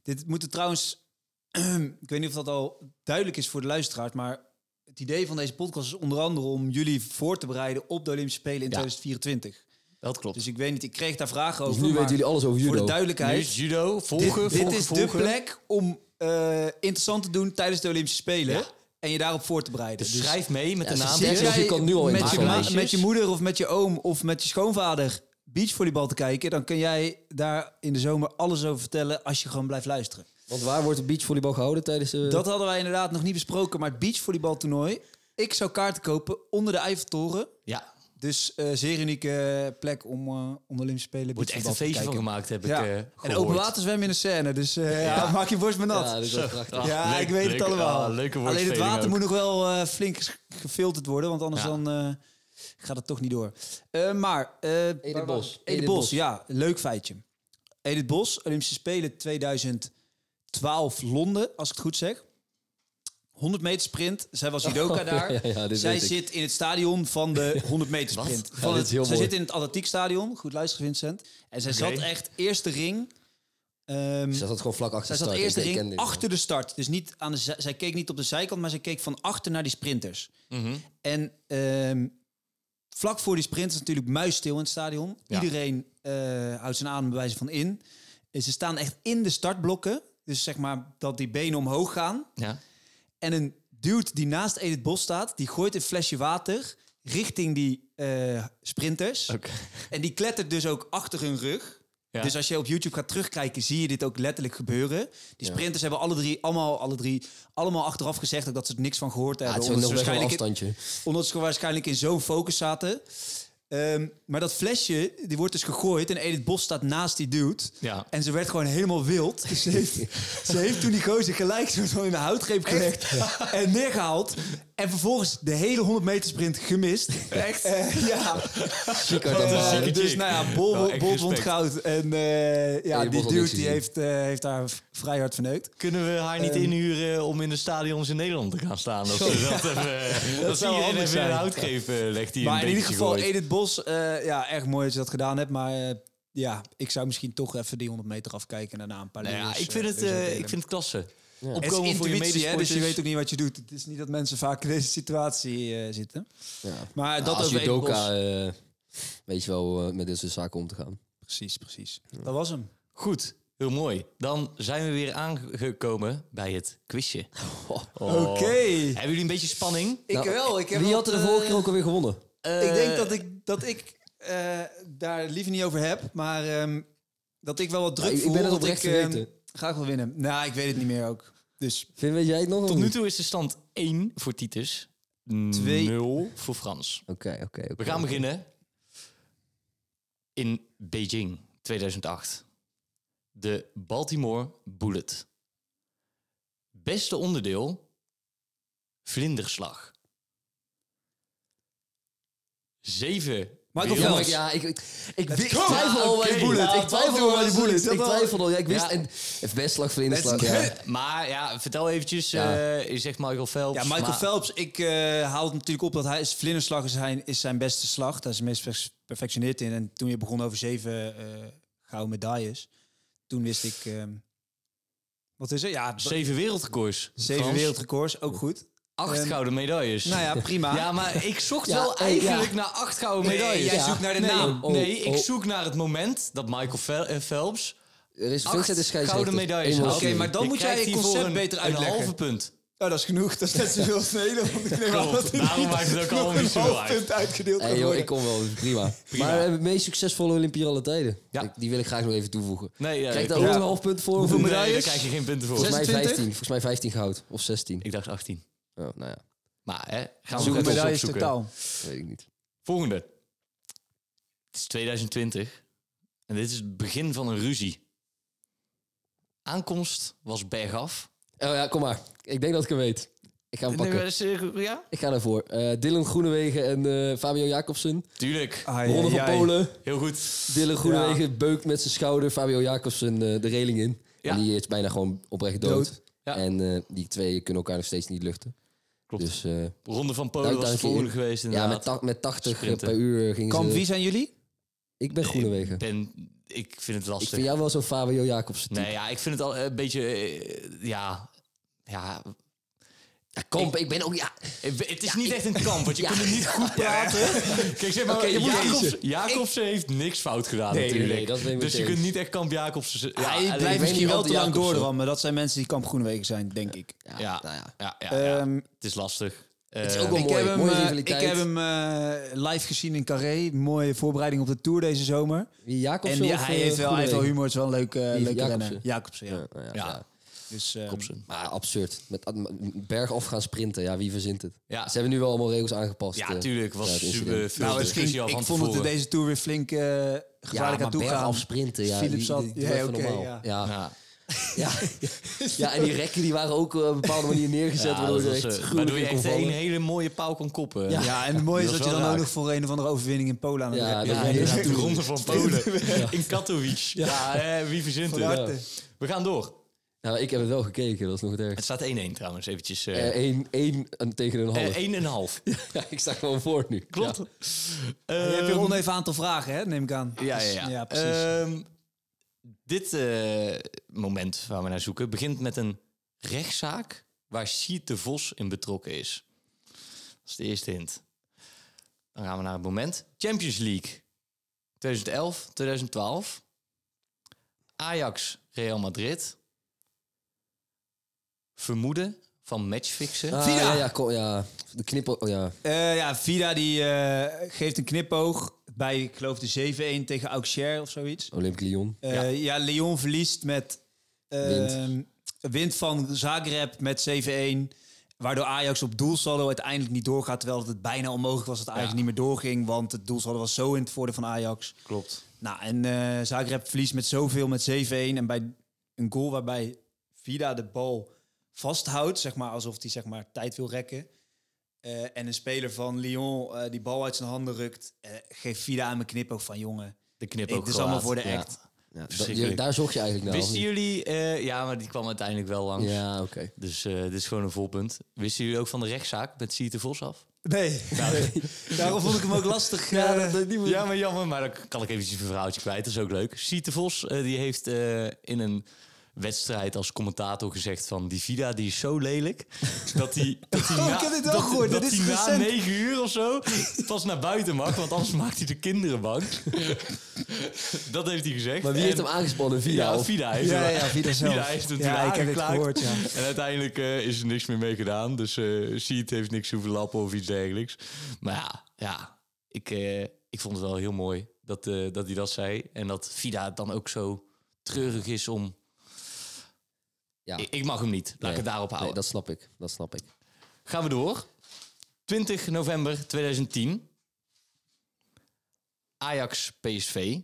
Speaker 1: Dit moet er trouwens, (clears throat) ik weet niet of dat al duidelijk is voor de luisteraars, maar het idee van deze podcast is onder andere om jullie voor te bereiden op de Olympische Spelen in 2024.
Speaker 2: Dat klopt.
Speaker 1: Dus ik weet niet, ik kreeg daar vragen
Speaker 3: Dus
Speaker 1: over.
Speaker 3: nu
Speaker 1: maar
Speaker 3: weten jullie alles over judo.
Speaker 1: Voor de
Speaker 2: Nu
Speaker 1: duidelijkheid,
Speaker 2: is judo, volgen,
Speaker 1: dit,
Speaker 2: volgen,
Speaker 1: dit is de
Speaker 2: volgen.
Speaker 1: plek om eh, interessant te doen tijdens de Olympische Spelen
Speaker 2: Ja.
Speaker 1: en je daarop voor te bereiden.
Speaker 2: Dus schrijf mee met
Speaker 3: Ja,
Speaker 2: de
Speaker 3: ze
Speaker 2: naam. dus
Speaker 3: zeggen-
Speaker 1: Zit
Speaker 3: Of je
Speaker 1: jij
Speaker 3: kan nu al
Speaker 1: met je,
Speaker 2: inschrijven.
Speaker 1: ma-
Speaker 2: Meisjes?
Speaker 1: met je moeder of met je oom of met je schoonvader beachvolleybal te kijken, dan kun jij daar in de zomer alles over vertellen als je gewoon blijft luisteren.
Speaker 3: Want waar wordt de beachvolleybal gehouden tijdens eh, de...
Speaker 1: Dat hadden wij inderdaad nog niet besproken, maar het beachvolleybaltoernooi. Ik zou kaarten kopen onder de Eiffeltoren
Speaker 2: Ja,
Speaker 1: Dus eh, zeer unieke plek om, eh om de Olympische Spelen
Speaker 2: Moet echt een
Speaker 1: beachvoetbal te
Speaker 2: feestje van
Speaker 1: kijken.
Speaker 2: gemaakt, heb ik
Speaker 1: Ja.
Speaker 2: eh
Speaker 1: en
Speaker 2: gehoord.
Speaker 1: open water zwemmen in de scène, dus eh, ja. (laughs) maak je borst maar nat.
Speaker 3: Ja, dit was prachtig.
Speaker 2: Ah,
Speaker 1: Ja,
Speaker 2: leuk,
Speaker 1: ik weet
Speaker 2: leuk.
Speaker 1: het allemaal.
Speaker 2: Ah, leuke
Speaker 1: Alleen het
Speaker 2: woordspeling
Speaker 1: water
Speaker 2: ook.
Speaker 1: moet nog wel eh, flink ges- gefilterd worden, want anders
Speaker 2: Ja.
Speaker 1: dan eh, gaat het toch niet door. Eh, maar... eh, waar waren we?
Speaker 3: Bos.
Speaker 1: Edith
Speaker 3: Edith
Speaker 1: Bos,
Speaker 3: Bos.
Speaker 1: ja. Leuk feitje. Edith Bos, Olympische Spelen 2012 Londen, als ik het goed zeg. 100 meter sprint. Zij was judoka daar.
Speaker 3: (laughs) ja, ja, dit
Speaker 1: Zij
Speaker 3: weet ik.
Speaker 1: zit in het stadion van
Speaker 3: (laughs)
Speaker 1: de 100 meter sprint.
Speaker 3: Ja,
Speaker 1: Van
Speaker 3: dit
Speaker 1: het,
Speaker 3: is heel
Speaker 1: zij
Speaker 3: mooi.
Speaker 1: zit in het atletiekstadion. Goed luisteren, Vincent. En zij
Speaker 2: Oké.
Speaker 1: zat echt eerste ring. Ehm,
Speaker 3: Zij zat gewoon vlak
Speaker 1: zij
Speaker 3: achter de
Speaker 1: zat
Speaker 3: start.
Speaker 1: eerste
Speaker 3: Ik ken
Speaker 1: ring
Speaker 3: dit wel.
Speaker 1: achter de start. Dus niet aan de, zij zij keek niet op de zijkant, maar zij keek van achter naar die sprinters.
Speaker 2: Mhm.
Speaker 1: En ehm, vlak voor die sprint is natuurlijk muisstil in het stadion.
Speaker 2: Ja.
Speaker 1: Iedereen eh, houdt zijn adem bij wijze van in. En ze staan echt in de startblokken. Dus zeg maar dat die benen omhoog gaan.
Speaker 2: Ja.
Speaker 1: En een dude die naast Edith Bos staat, die gooit een flesje water richting die eh, sprinters.
Speaker 2: Oké.
Speaker 1: En die klettert dus ook achter hun rug.
Speaker 2: Ja.
Speaker 1: Dus als je op YouTube gaat terugkijken, zie je dit ook letterlijk gebeuren. Die
Speaker 3: Ja.
Speaker 1: sprinters hebben alle drie, allemaal, alle drie, allemaal achteraf gezegd ook dat ze er niks van gehoord
Speaker 3: Ja,
Speaker 1: hebben.
Speaker 3: het is nog
Speaker 1: omdat, ze
Speaker 3: best wel een
Speaker 1: waarschijnlijk in, (laughs)
Speaker 3: afstandje.
Speaker 1: omdat ze waarschijnlijk in zo'n focus zaten. Ehm, maar dat flesje, die wordt dus gegooid en Edith Bos staat naast die dude.
Speaker 2: Ja.
Speaker 1: En ze werd gewoon helemaal wild. Dus ze, heeft, ze heeft toen die gozer gelijk soort van in de houtgreep gelegd en neergehaald. En vervolgens de hele 100 meter sprint gemist. Echt? ja.
Speaker 3: Chica
Speaker 1: Eh,
Speaker 3: dan
Speaker 2: zieke
Speaker 1: dus
Speaker 2: chick.
Speaker 1: nou ja, bol,
Speaker 2: Wel echt
Speaker 1: bol won
Speaker 2: respect.
Speaker 1: goud. En eh, ja,
Speaker 3: je
Speaker 1: die
Speaker 3: mocht al
Speaker 1: dude
Speaker 3: niks
Speaker 1: die
Speaker 3: zien.
Speaker 1: heeft, eh, heeft daar v- vrij hard verneukt.
Speaker 2: Kunnen we haar niet
Speaker 1: Ehm.
Speaker 2: inhuren om in de stadions in Nederland te gaan staan? Of zo?
Speaker 1: (laughs)
Speaker 2: dat even, dat
Speaker 1: zou
Speaker 2: iedereen
Speaker 1: handig
Speaker 2: even in
Speaker 1: zijn.
Speaker 2: de houtgreep eh, legt die
Speaker 1: maar
Speaker 2: een
Speaker 1: in ieder
Speaker 2: beetje
Speaker 1: geval,
Speaker 2: gooit.
Speaker 1: Edith Bos, eh, ja, erg mooi dat je dat gedaan hebt. Maar eh, ja, ik zou misschien toch even die 100 meter afkijken en daarna een paar
Speaker 2: Nou ja,
Speaker 1: leeuws,
Speaker 2: ik vind
Speaker 1: eh,
Speaker 2: het,
Speaker 1: leeuws
Speaker 2: eh,
Speaker 1: uitdelen.
Speaker 2: ik vind het klasse.
Speaker 1: Het is
Speaker 2: Opkomen voor je
Speaker 1: intuïtie, hè,
Speaker 2: medesporters.
Speaker 1: dus je weet ook niet wat je doet. Het is niet dat mensen vaak in deze situatie eh, zitten.
Speaker 3: Ja.
Speaker 1: Maar dat
Speaker 3: Dat als
Speaker 1: over Edith Bos.
Speaker 3: judoka eh, weet je wel eh, met dit soort zaken om te gaan.
Speaker 1: Precies, precies. Dat was hem.
Speaker 2: Goed, heel mooi. Dan zijn we weer aangekomen bij het
Speaker 1: (laughs)
Speaker 2: quizje.
Speaker 1: Oh.
Speaker 2: Oh.
Speaker 1: Oké.
Speaker 2: Hebben jullie een beetje spanning?
Speaker 1: Ik
Speaker 3: Nou,
Speaker 1: wel. Ik heb
Speaker 3: Wie
Speaker 1: wat,
Speaker 3: had er de
Speaker 1: eh,
Speaker 3: vorige keer ook alweer gewonnen?
Speaker 1: Ik denk
Speaker 2: Eh,
Speaker 1: dat ik, dat ik eh, daar liever niet over heb, maar ehm, dat ik wel wat druk
Speaker 3: Nou, ik- ik
Speaker 1: voel.
Speaker 3: ben het
Speaker 1: dat
Speaker 3: oprecht
Speaker 1: ik, ehm,
Speaker 3: vergeten.
Speaker 1: Graag wil winnen. Nou, ik weet het niet meer ook. Dus
Speaker 3: Vind, weet jij het nog? of
Speaker 2: Tot nu
Speaker 3: niet?
Speaker 2: toe is de stand 1 voor Titus. 0 voor Frans.
Speaker 3: Oké, oké. oké.
Speaker 2: We gaan beginnen in Beijing 2008. De Baltimore Bullet. Beste onderdeel, vlinderslag. Zeven.
Speaker 1: Michael
Speaker 3: Ja, maar
Speaker 2: wereld-
Speaker 3: ik- ja, ik, ik, ik,
Speaker 1: Let's
Speaker 3: wist-
Speaker 1: go.
Speaker 3: ik twijfel al bij
Speaker 2: Oké.
Speaker 3: Bullet.
Speaker 2: Ja,
Speaker 3: ik twijfel al bij die
Speaker 1: Baltimore
Speaker 3: Bullet.
Speaker 1: is het
Speaker 3: Ik
Speaker 1: wel-
Speaker 3: twijfel al. Ja, ik wist.
Speaker 2: Ja.
Speaker 3: En, even best slag voor in de
Speaker 1: Let's
Speaker 3: slag.
Speaker 1: go.
Speaker 3: Ja.
Speaker 2: Eh, Maar ja, vertel eventjes,
Speaker 3: Ja.
Speaker 2: eh, je zegt Michael Phelps.
Speaker 1: ja, Michael
Speaker 2: maar-
Speaker 1: Phelps, ik eh, haal het natuurlijk op dat hij is vlinderslag is zijn, is zijn beste slag. Daar is hij meest perf- perfectioneerd in. En toen je begon over zeven eh, gouden medailles, toen wist ik. ehm, wat is er? Ja, b-
Speaker 2: Zeven wereldrecords.
Speaker 1: zeven
Speaker 2: Frans.
Speaker 1: wereldrecords, ook goed.
Speaker 2: Acht
Speaker 1: Ehm,
Speaker 2: gouden medailles.
Speaker 1: Nou ja, prima.
Speaker 2: Ja, maar ik zocht
Speaker 3: Ja,
Speaker 2: wel
Speaker 3: eh,
Speaker 2: eigenlijk
Speaker 3: ja.
Speaker 2: naar acht gouden
Speaker 1: Nee,
Speaker 2: medailles.
Speaker 1: jij
Speaker 3: Ja.
Speaker 1: zoekt naar de
Speaker 2: nee,
Speaker 1: naam.
Speaker 3: Oh,
Speaker 2: nee, ik
Speaker 3: oh.
Speaker 2: zoek naar het moment dat Michael Fel- eh, Phelps
Speaker 3: Er is
Speaker 2: acht
Speaker 3: Vincent is scheidsrechter.
Speaker 2: gouden medailles
Speaker 3: Eenmaal
Speaker 2: haalt.
Speaker 1: Oké,
Speaker 3: gezien.
Speaker 1: maar dan moet jij
Speaker 2: krijgt
Speaker 1: je
Speaker 2: hiervoor
Speaker 1: concept
Speaker 2: een-
Speaker 1: beter
Speaker 2: Een
Speaker 1: uitleggen.
Speaker 2: halve punt.
Speaker 1: Nou, dat is genoeg. Dat is net zoveel als Nederland. Ik neem aan
Speaker 2: Klopt.
Speaker 1: dat het
Speaker 2: Daarom
Speaker 1: niet
Speaker 2: maakt het
Speaker 1: nog
Speaker 2: ook allemaal niet
Speaker 1: een
Speaker 2: zoveel
Speaker 1: half
Speaker 2: uit.
Speaker 1: punt uitgedeeld
Speaker 3: Hey,
Speaker 1: gaat
Speaker 3: joh,
Speaker 1: worden.
Speaker 3: ik kom wel, prima.
Speaker 2: (laughs) Prima.
Speaker 3: Maar eh, de meest succesvolle Olympier alle tijden.
Speaker 2: Ja.
Speaker 3: Ik- die wil ik graag nog even toevoegen.
Speaker 2: Nee, ja,
Speaker 3: Krijg
Speaker 2: ja,
Speaker 3: daar ook
Speaker 2: klopt.
Speaker 3: een half punt voor?
Speaker 2: Hoeveel
Speaker 3: Of-
Speaker 1: medailles?
Speaker 2: medailles? Daar krijg je geen punten voor.
Speaker 3: Volgens mij
Speaker 1: 26?
Speaker 3: 15. Volgens mij 15 goud. Of 16.
Speaker 2: Ik dacht 18.
Speaker 3: Oh, nou ja,
Speaker 2: Maar hè, gaan we
Speaker 1: Zoek
Speaker 2: nog even
Speaker 1: medailles
Speaker 2: opzoeken.
Speaker 1: totaal.
Speaker 3: dat weet ik niet.
Speaker 2: Volgende. Het is 2020. En dit is het begin van een ruzie. Aankomst was bergaf.
Speaker 3: Oh ja, kom maar. Ik denk dat ik hem weet. Ik ga hem
Speaker 2: Nee, maar
Speaker 3: pakken.
Speaker 2: dat is, eh, Ja?
Speaker 3: Ik ga daarvoor. Eh Dylan Groenewegen en eh, Fabio Jacobsen.
Speaker 2: Tuurlijk.
Speaker 1: Ah,
Speaker 3: De Ronde van Polen.
Speaker 2: Heel goed.
Speaker 3: Dylan Groenewegen beukt met zijn schouder Fabio Jacobsen eh, de reling in.
Speaker 2: Ja.
Speaker 3: En die is bijna gewoon oprecht dood.
Speaker 1: Dood.
Speaker 2: Ja.
Speaker 3: En eh, die twee kunnen elkaar nog steeds niet luchten.
Speaker 2: Klopt.
Speaker 3: Dus eh,
Speaker 2: Ronde van
Speaker 3: Dank-
Speaker 2: Polen was de
Speaker 3: dank je.
Speaker 2: volgende geweest
Speaker 3: ja, met,
Speaker 2: inderdaad.
Speaker 3: ta- met 80
Speaker 2: Sprinten.
Speaker 3: per uur eh, gingen
Speaker 1: Kamp,
Speaker 3: ze...
Speaker 1: wie zijn jullie?
Speaker 3: Ik ben Groenewegen.
Speaker 2: ik, ben, ik vind het
Speaker 3: Ik
Speaker 2: lastig.
Speaker 3: vind jou wel zo'n Fabio Jacobsen type.
Speaker 2: Nee, ja, ik vind het al eh, een beetje... eh, ja, ja...
Speaker 3: Ja, Kamp, ik, ben ook... Ja,
Speaker 2: Het het is niet echt een kamp, want je
Speaker 3: (laughs) Ja.
Speaker 2: kunt er niet goed praten.
Speaker 3: (laughs)
Speaker 2: Kijk, zeg maar,
Speaker 3: Oké, je moet
Speaker 2: Jacobs,
Speaker 3: kiezen.
Speaker 2: Jacobsen heeft niks fout gedaan
Speaker 3: Nee,
Speaker 2: natuurlijk.
Speaker 3: nee, nee, dat ben ik
Speaker 2: dus je
Speaker 3: met je
Speaker 2: kunt niet echt kamp Jacobsen... Ja,
Speaker 1: Hij
Speaker 2: alleen-
Speaker 1: blijft
Speaker 3: weet
Speaker 1: misschien
Speaker 3: niet
Speaker 1: wel
Speaker 3: wat
Speaker 1: te lang
Speaker 3: Jacobsen.
Speaker 1: doordrammen. Dat zijn mensen die kamp Groenewegen zijn, denk ik.
Speaker 3: ja,
Speaker 2: Ja,
Speaker 3: nou ja.
Speaker 2: ja, ja, ja.
Speaker 1: Ehm,
Speaker 2: het is lastig.
Speaker 3: is
Speaker 2: Eh,
Speaker 3: ook wel
Speaker 1: ik,
Speaker 3: mooi.
Speaker 1: heb hem,
Speaker 3: Mooie
Speaker 1: eh,
Speaker 3: rivaliteit.
Speaker 1: ik heb hem eh, live gezien in Carré. Mooie voorbereiding op de Tour deze zomer.
Speaker 3: Wie, Jacobsen
Speaker 1: en die-
Speaker 3: of,
Speaker 1: hij,
Speaker 3: eh,
Speaker 1: heeft wel, hij heeft wel
Speaker 3: Groenewegen?
Speaker 1: humor. Het is wel een leuke,
Speaker 3: Wie,
Speaker 1: leuke
Speaker 3: Jacobsen?
Speaker 1: renner. Jacobsen, ja.
Speaker 3: Ja, nou ja,
Speaker 2: Ja.
Speaker 3: ja.
Speaker 1: Dus, ehm,
Speaker 2: Robson.
Speaker 3: Maar absurd. Met berg af gaan sprinten, ja, wie verzint het?
Speaker 2: Ja.
Speaker 3: Ze hebben nu wel allemaal regels aangepast.
Speaker 2: Ja,
Speaker 3: eh.
Speaker 2: tuurlijk. Was
Speaker 3: ja, het incident.
Speaker 2: super veel
Speaker 1: nou, het
Speaker 2: discussie
Speaker 1: ging-
Speaker 2: al van
Speaker 1: ik vond het
Speaker 2: tevoren.
Speaker 1: in deze tour weer flink eh gevaarlijk
Speaker 3: Ja,
Speaker 1: aan
Speaker 3: maar
Speaker 1: toe
Speaker 3: berg
Speaker 1: gaan.
Speaker 3: af sprinten, ja.
Speaker 1: Philips
Speaker 3: die-
Speaker 1: zat-
Speaker 3: die- doe
Speaker 1: ja,
Speaker 3: even
Speaker 1: oké,
Speaker 3: normaal.
Speaker 1: ja.
Speaker 3: Ja.
Speaker 2: Ja.
Speaker 3: (laughs) Ja. ja, en die rekken die waren ook eh, op een bepaalde manier neergezet.
Speaker 2: Ja,
Speaker 3: waardoor
Speaker 2: dat
Speaker 3: je
Speaker 2: was, eh,
Speaker 3: echt gruwelijk
Speaker 2: waardoor je
Speaker 3: in kon
Speaker 2: echt
Speaker 3: vallen.
Speaker 2: een hele mooie paal kon koppen.
Speaker 1: Ja. en het mooie is
Speaker 2: Dat
Speaker 1: dat
Speaker 2: is
Speaker 1: je
Speaker 2: wel
Speaker 1: dan ook
Speaker 2: raar.
Speaker 1: nog voor een of andere overwinning in Polen aan het
Speaker 3: Ja,
Speaker 1: rekken
Speaker 3: dat
Speaker 1: bent.
Speaker 2: Ja,
Speaker 3: Ja,
Speaker 2: inderdaad, de
Speaker 3: natuurlijk.
Speaker 2: ronde van Polen in Katowice. Ja, hè, wie verzint
Speaker 1: Van
Speaker 2: het?
Speaker 1: harte.
Speaker 2: We gaan door.
Speaker 3: Nou, ik heb het wel gekeken, dat is nog het ergste.
Speaker 2: Het staat 1-1 trouwens, eventjes. eh,
Speaker 3: Eh, één- één en tegen een half.
Speaker 2: eh, 1,5.
Speaker 3: (laughs) Ja, ik sta gewoon voor nu.
Speaker 2: Klopt.
Speaker 3: Ja.
Speaker 1: Je hebt
Speaker 2: Ehm,
Speaker 1: weer een oneven aantal vragen, hè, neem ik aan.
Speaker 2: ja,
Speaker 1: Dus-
Speaker 2: ja, ja.
Speaker 1: precies.
Speaker 2: Ehm, dit eh, moment waar we naar zoeken begint met een rechtszaak waar Siet de Vos in betrokken is. Dat is de eerste hint. Dan gaan we naar het moment. Champions League 2011, 2012. Ajax, Real Madrid. Vermoeden van matchfixen.
Speaker 3: Ah,
Speaker 1: Vida!
Speaker 3: ja, ja, kom, ja. De knippen, oh, ja.
Speaker 1: Eh, ja, Vida die eh, geeft een knipoog bij, ik geloof, de 7-1 tegen Auxerre of zoiets.
Speaker 3: Olympic Lyon.
Speaker 1: Eh,
Speaker 2: Ja.
Speaker 1: ja. Lyon verliest met eh,
Speaker 3: Wind.
Speaker 1: wind van Zagreb met 7-1. Waardoor Ajax op doelsaldo uiteindelijk niet doorgaat. Terwijl het bijna onmogelijk was dat Ajax
Speaker 2: Ja.
Speaker 1: niet meer doorging. Want het doelsaldo was zo in het voordeel van Ajax.
Speaker 2: Klopt.
Speaker 1: Nou, en eh Zagreb verliest met zoveel, met 7-1. En bij een goal waarbij Vida de bal vasthoudt, zeg maar, alsof hij zeg maar, tijd wil rekken. Eh, en een speler van Lyon eh, die bal uit zijn handen rukt, eh, geeft Vida aan mijn knipoog van jongen.
Speaker 2: De knip ook
Speaker 1: Het is allemaal voor
Speaker 2: gelaten.
Speaker 1: de
Speaker 3: Ja.
Speaker 1: act.
Speaker 3: Ja, da-
Speaker 2: Verschrikkelijk.
Speaker 3: je- daar zocht je eigenlijk naar. of
Speaker 2: Wisten
Speaker 3: niet?
Speaker 2: jullie... eh, ja, maar die kwam uiteindelijk wel langs.
Speaker 3: Ja, oké.
Speaker 2: Dus eh, dit is gewoon een volpunt. Wisten jullie ook van de rechtszaak met Siete Vos
Speaker 1: (laughs)
Speaker 2: af?
Speaker 1: Nee, (laughs) daarom vond ik hem ook lastig.
Speaker 3: Ja,
Speaker 1: eh,
Speaker 3: dat- dat- die moet-
Speaker 2: Ja, maar jammer. Maar dan kan ik eventjes een verhaaltje kwijt. Dat is ook leuk. Siete Vos eh, die heeft eh, in een wedstrijd als commentator gezegd van... die Vida die is zo lelijk (laughs) dat hij dat hij
Speaker 1: (laughs) Oh, ik
Speaker 2: na-
Speaker 1: heb dit wel
Speaker 2: dat-
Speaker 1: gehoord.
Speaker 2: dat
Speaker 1: Dit is
Speaker 2: hij na
Speaker 1: recent.
Speaker 2: negen uur of zo pas naar buiten mag. Want anders maakt hij de kinderen
Speaker 1: (laughs)
Speaker 2: bang. dat heeft hij gezegd.
Speaker 3: Maar wie heeft
Speaker 2: En-
Speaker 3: hem aangespannen? Vida?
Speaker 2: Ja,
Speaker 3: of-
Speaker 2: (laughs) Vida heeft
Speaker 1: Ja,
Speaker 2: hem-
Speaker 1: ja, Vida zelf.
Speaker 2: heeft hem
Speaker 1: Ja,
Speaker 2: toen
Speaker 1: ik heb dit
Speaker 2: aangeklaagd.
Speaker 1: gehoord, ja.
Speaker 2: En uiteindelijk eh, is er niks meer mee gedaan. Dus eh Seed heeft niks hoeven lappen of iets dergelijks. Maar ja, ja ik, eh, ik vond het wel heel mooi dat, eh, dat hij dat zei. En dat Vida het dan ook zo treurig is om...
Speaker 3: Ja.
Speaker 2: Ik, ik mag hem niet. Laat ik
Speaker 3: Nee,
Speaker 2: het daarop houden.
Speaker 3: Nee, dat snap ik. Dat snap ik.
Speaker 2: Gaan we door. 20 november 2010. Ajax PSV.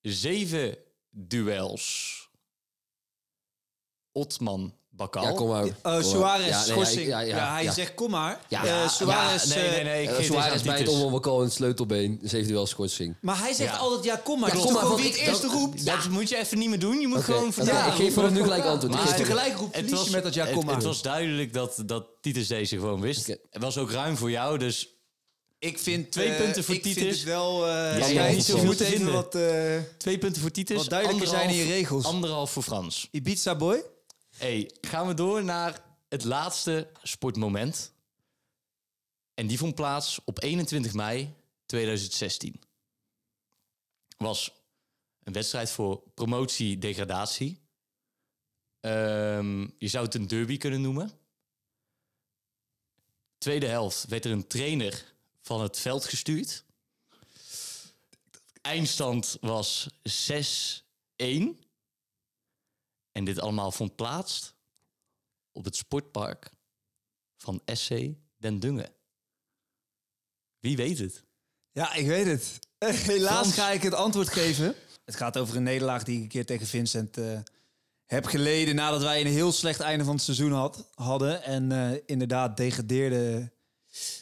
Speaker 2: Zeven duels. Otman Bakal.
Speaker 3: Ja, kom maar.
Speaker 1: eh,
Speaker 3: Kom maar.
Speaker 1: Suarez,
Speaker 3: Ja, nee, ja,
Speaker 1: schorsing.
Speaker 3: ik-
Speaker 1: Ja, hij
Speaker 3: ja.
Speaker 1: zegt kom maar.
Speaker 3: Ja,
Speaker 1: Ja,
Speaker 3: ja,
Speaker 1: Eh, Suarez,
Speaker 2: ja, nee, nee, nee.
Speaker 1: eh,
Speaker 2: Ik
Speaker 3: Eh,
Speaker 2: geef
Speaker 3: Suarez
Speaker 2: deze
Speaker 3: bij het
Speaker 2: titus.
Speaker 3: omwelbekal en het sleutelbeen. Ze heeft wel schorsing.
Speaker 1: Maar hij zegt
Speaker 2: Ja.
Speaker 1: altijd ja kom maar.
Speaker 2: Ja,
Speaker 1: Dat is
Speaker 2: kom
Speaker 1: toch
Speaker 2: maar,
Speaker 1: gewoon
Speaker 2: want
Speaker 1: wie het
Speaker 2: ik-
Speaker 1: eerste
Speaker 2: dat-
Speaker 1: roept.
Speaker 2: Dat moet je even niet meer doen. Je moet
Speaker 3: Oké,
Speaker 2: gewoon
Speaker 3: oké,
Speaker 2: vertalen.
Speaker 3: ik geef vanaf nu gelijk antwoord.
Speaker 1: Maar
Speaker 3: Ik
Speaker 1: hij
Speaker 3: geef-
Speaker 1: tegelijk roept
Speaker 2: het
Speaker 1: Titus
Speaker 2: was-
Speaker 1: met dat ja,
Speaker 2: het-
Speaker 1: kom maar.
Speaker 2: Het was duidelijk dat, dat Titus deze gewoon wist.
Speaker 3: Oké.
Speaker 2: Het was ook ruim voor jou, dus
Speaker 1: Ik vind
Speaker 2: Twee
Speaker 1: eh,
Speaker 2: punten voor
Speaker 1: ik vind
Speaker 2: Titus.
Speaker 1: het wel. eh
Speaker 2: Ja,
Speaker 1: ja,
Speaker 3: ja,
Speaker 1: iets
Speaker 3: ja.
Speaker 1: we moeten
Speaker 2: Ja.
Speaker 1: even wat. eh
Speaker 2: twee punten voor Titus.
Speaker 1: Wat duidelijker zijn
Speaker 2: anderhalf-
Speaker 1: in je regels.
Speaker 2: Anderhalf voor Frans.
Speaker 1: Ibiza boy.
Speaker 2: Hey, gaan we door naar het laatste sportmoment. En die vond plaats op 21 mei 2016. Was een wedstrijd voor promotie-degradatie. Ehm, je zou het een derby kunnen noemen. Tweede helft werd er een trainer van het veld gestuurd. Eindstand was 6-1. En dit allemaal vond plaats op het sportpark van SC Den Dungen. Wie weet het?
Speaker 1: Ja, ik weet het. (laughs) Helaas
Speaker 2: Frans.
Speaker 1: ga ik het antwoord geven. Het gaat over een nederlaag die ik een keer tegen Vincent eh, heb geleden. Nadat wij een heel slecht einde van het seizoen had, hadden. En eh, inderdaad degradeerden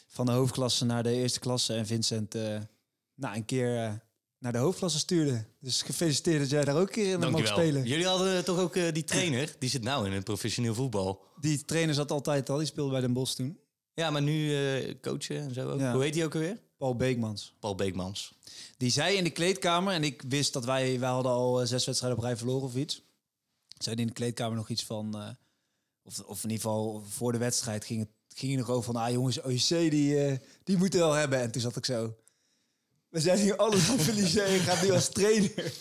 Speaker 1: van de hoofdklasse naar de eerste klasse. En Vincent eh nou, een keer eh, naar de hoofdklasse stuurde. Dus gefeliciteerd dat jij daar ook een keer in mag spelen.
Speaker 2: Jullie hadden toch ook eh, die trainer? Die zit nou in het professioneel voetbal.
Speaker 1: Die trainer zat altijd al. Die speelde bij Den Bosch toen.
Speaker 2: Ja, maar nu eh, coachen en zo ook.
Speaker 1: Ja.
Speaker 2: Hoe heet die ook alweer?
Speaker 1: Paul Beekmans.
Speaker 2: Paul Beekmans.
Speaker 1: Die zei in de kleedkamer, en ik wist dat wij, wij hadden al eh, zes wedstrijden op rij verloren of iets. Zei die in de kleedkamer nog iets van, eh, of, of in ieder geval voor de wedstrijd ging het ging hij nog over van, ah jongens, OEC die, eh, die moeten we wel hebben. En toen zat ik zo, we zijn hier alles aan verliezen en je gaat nu als trainer.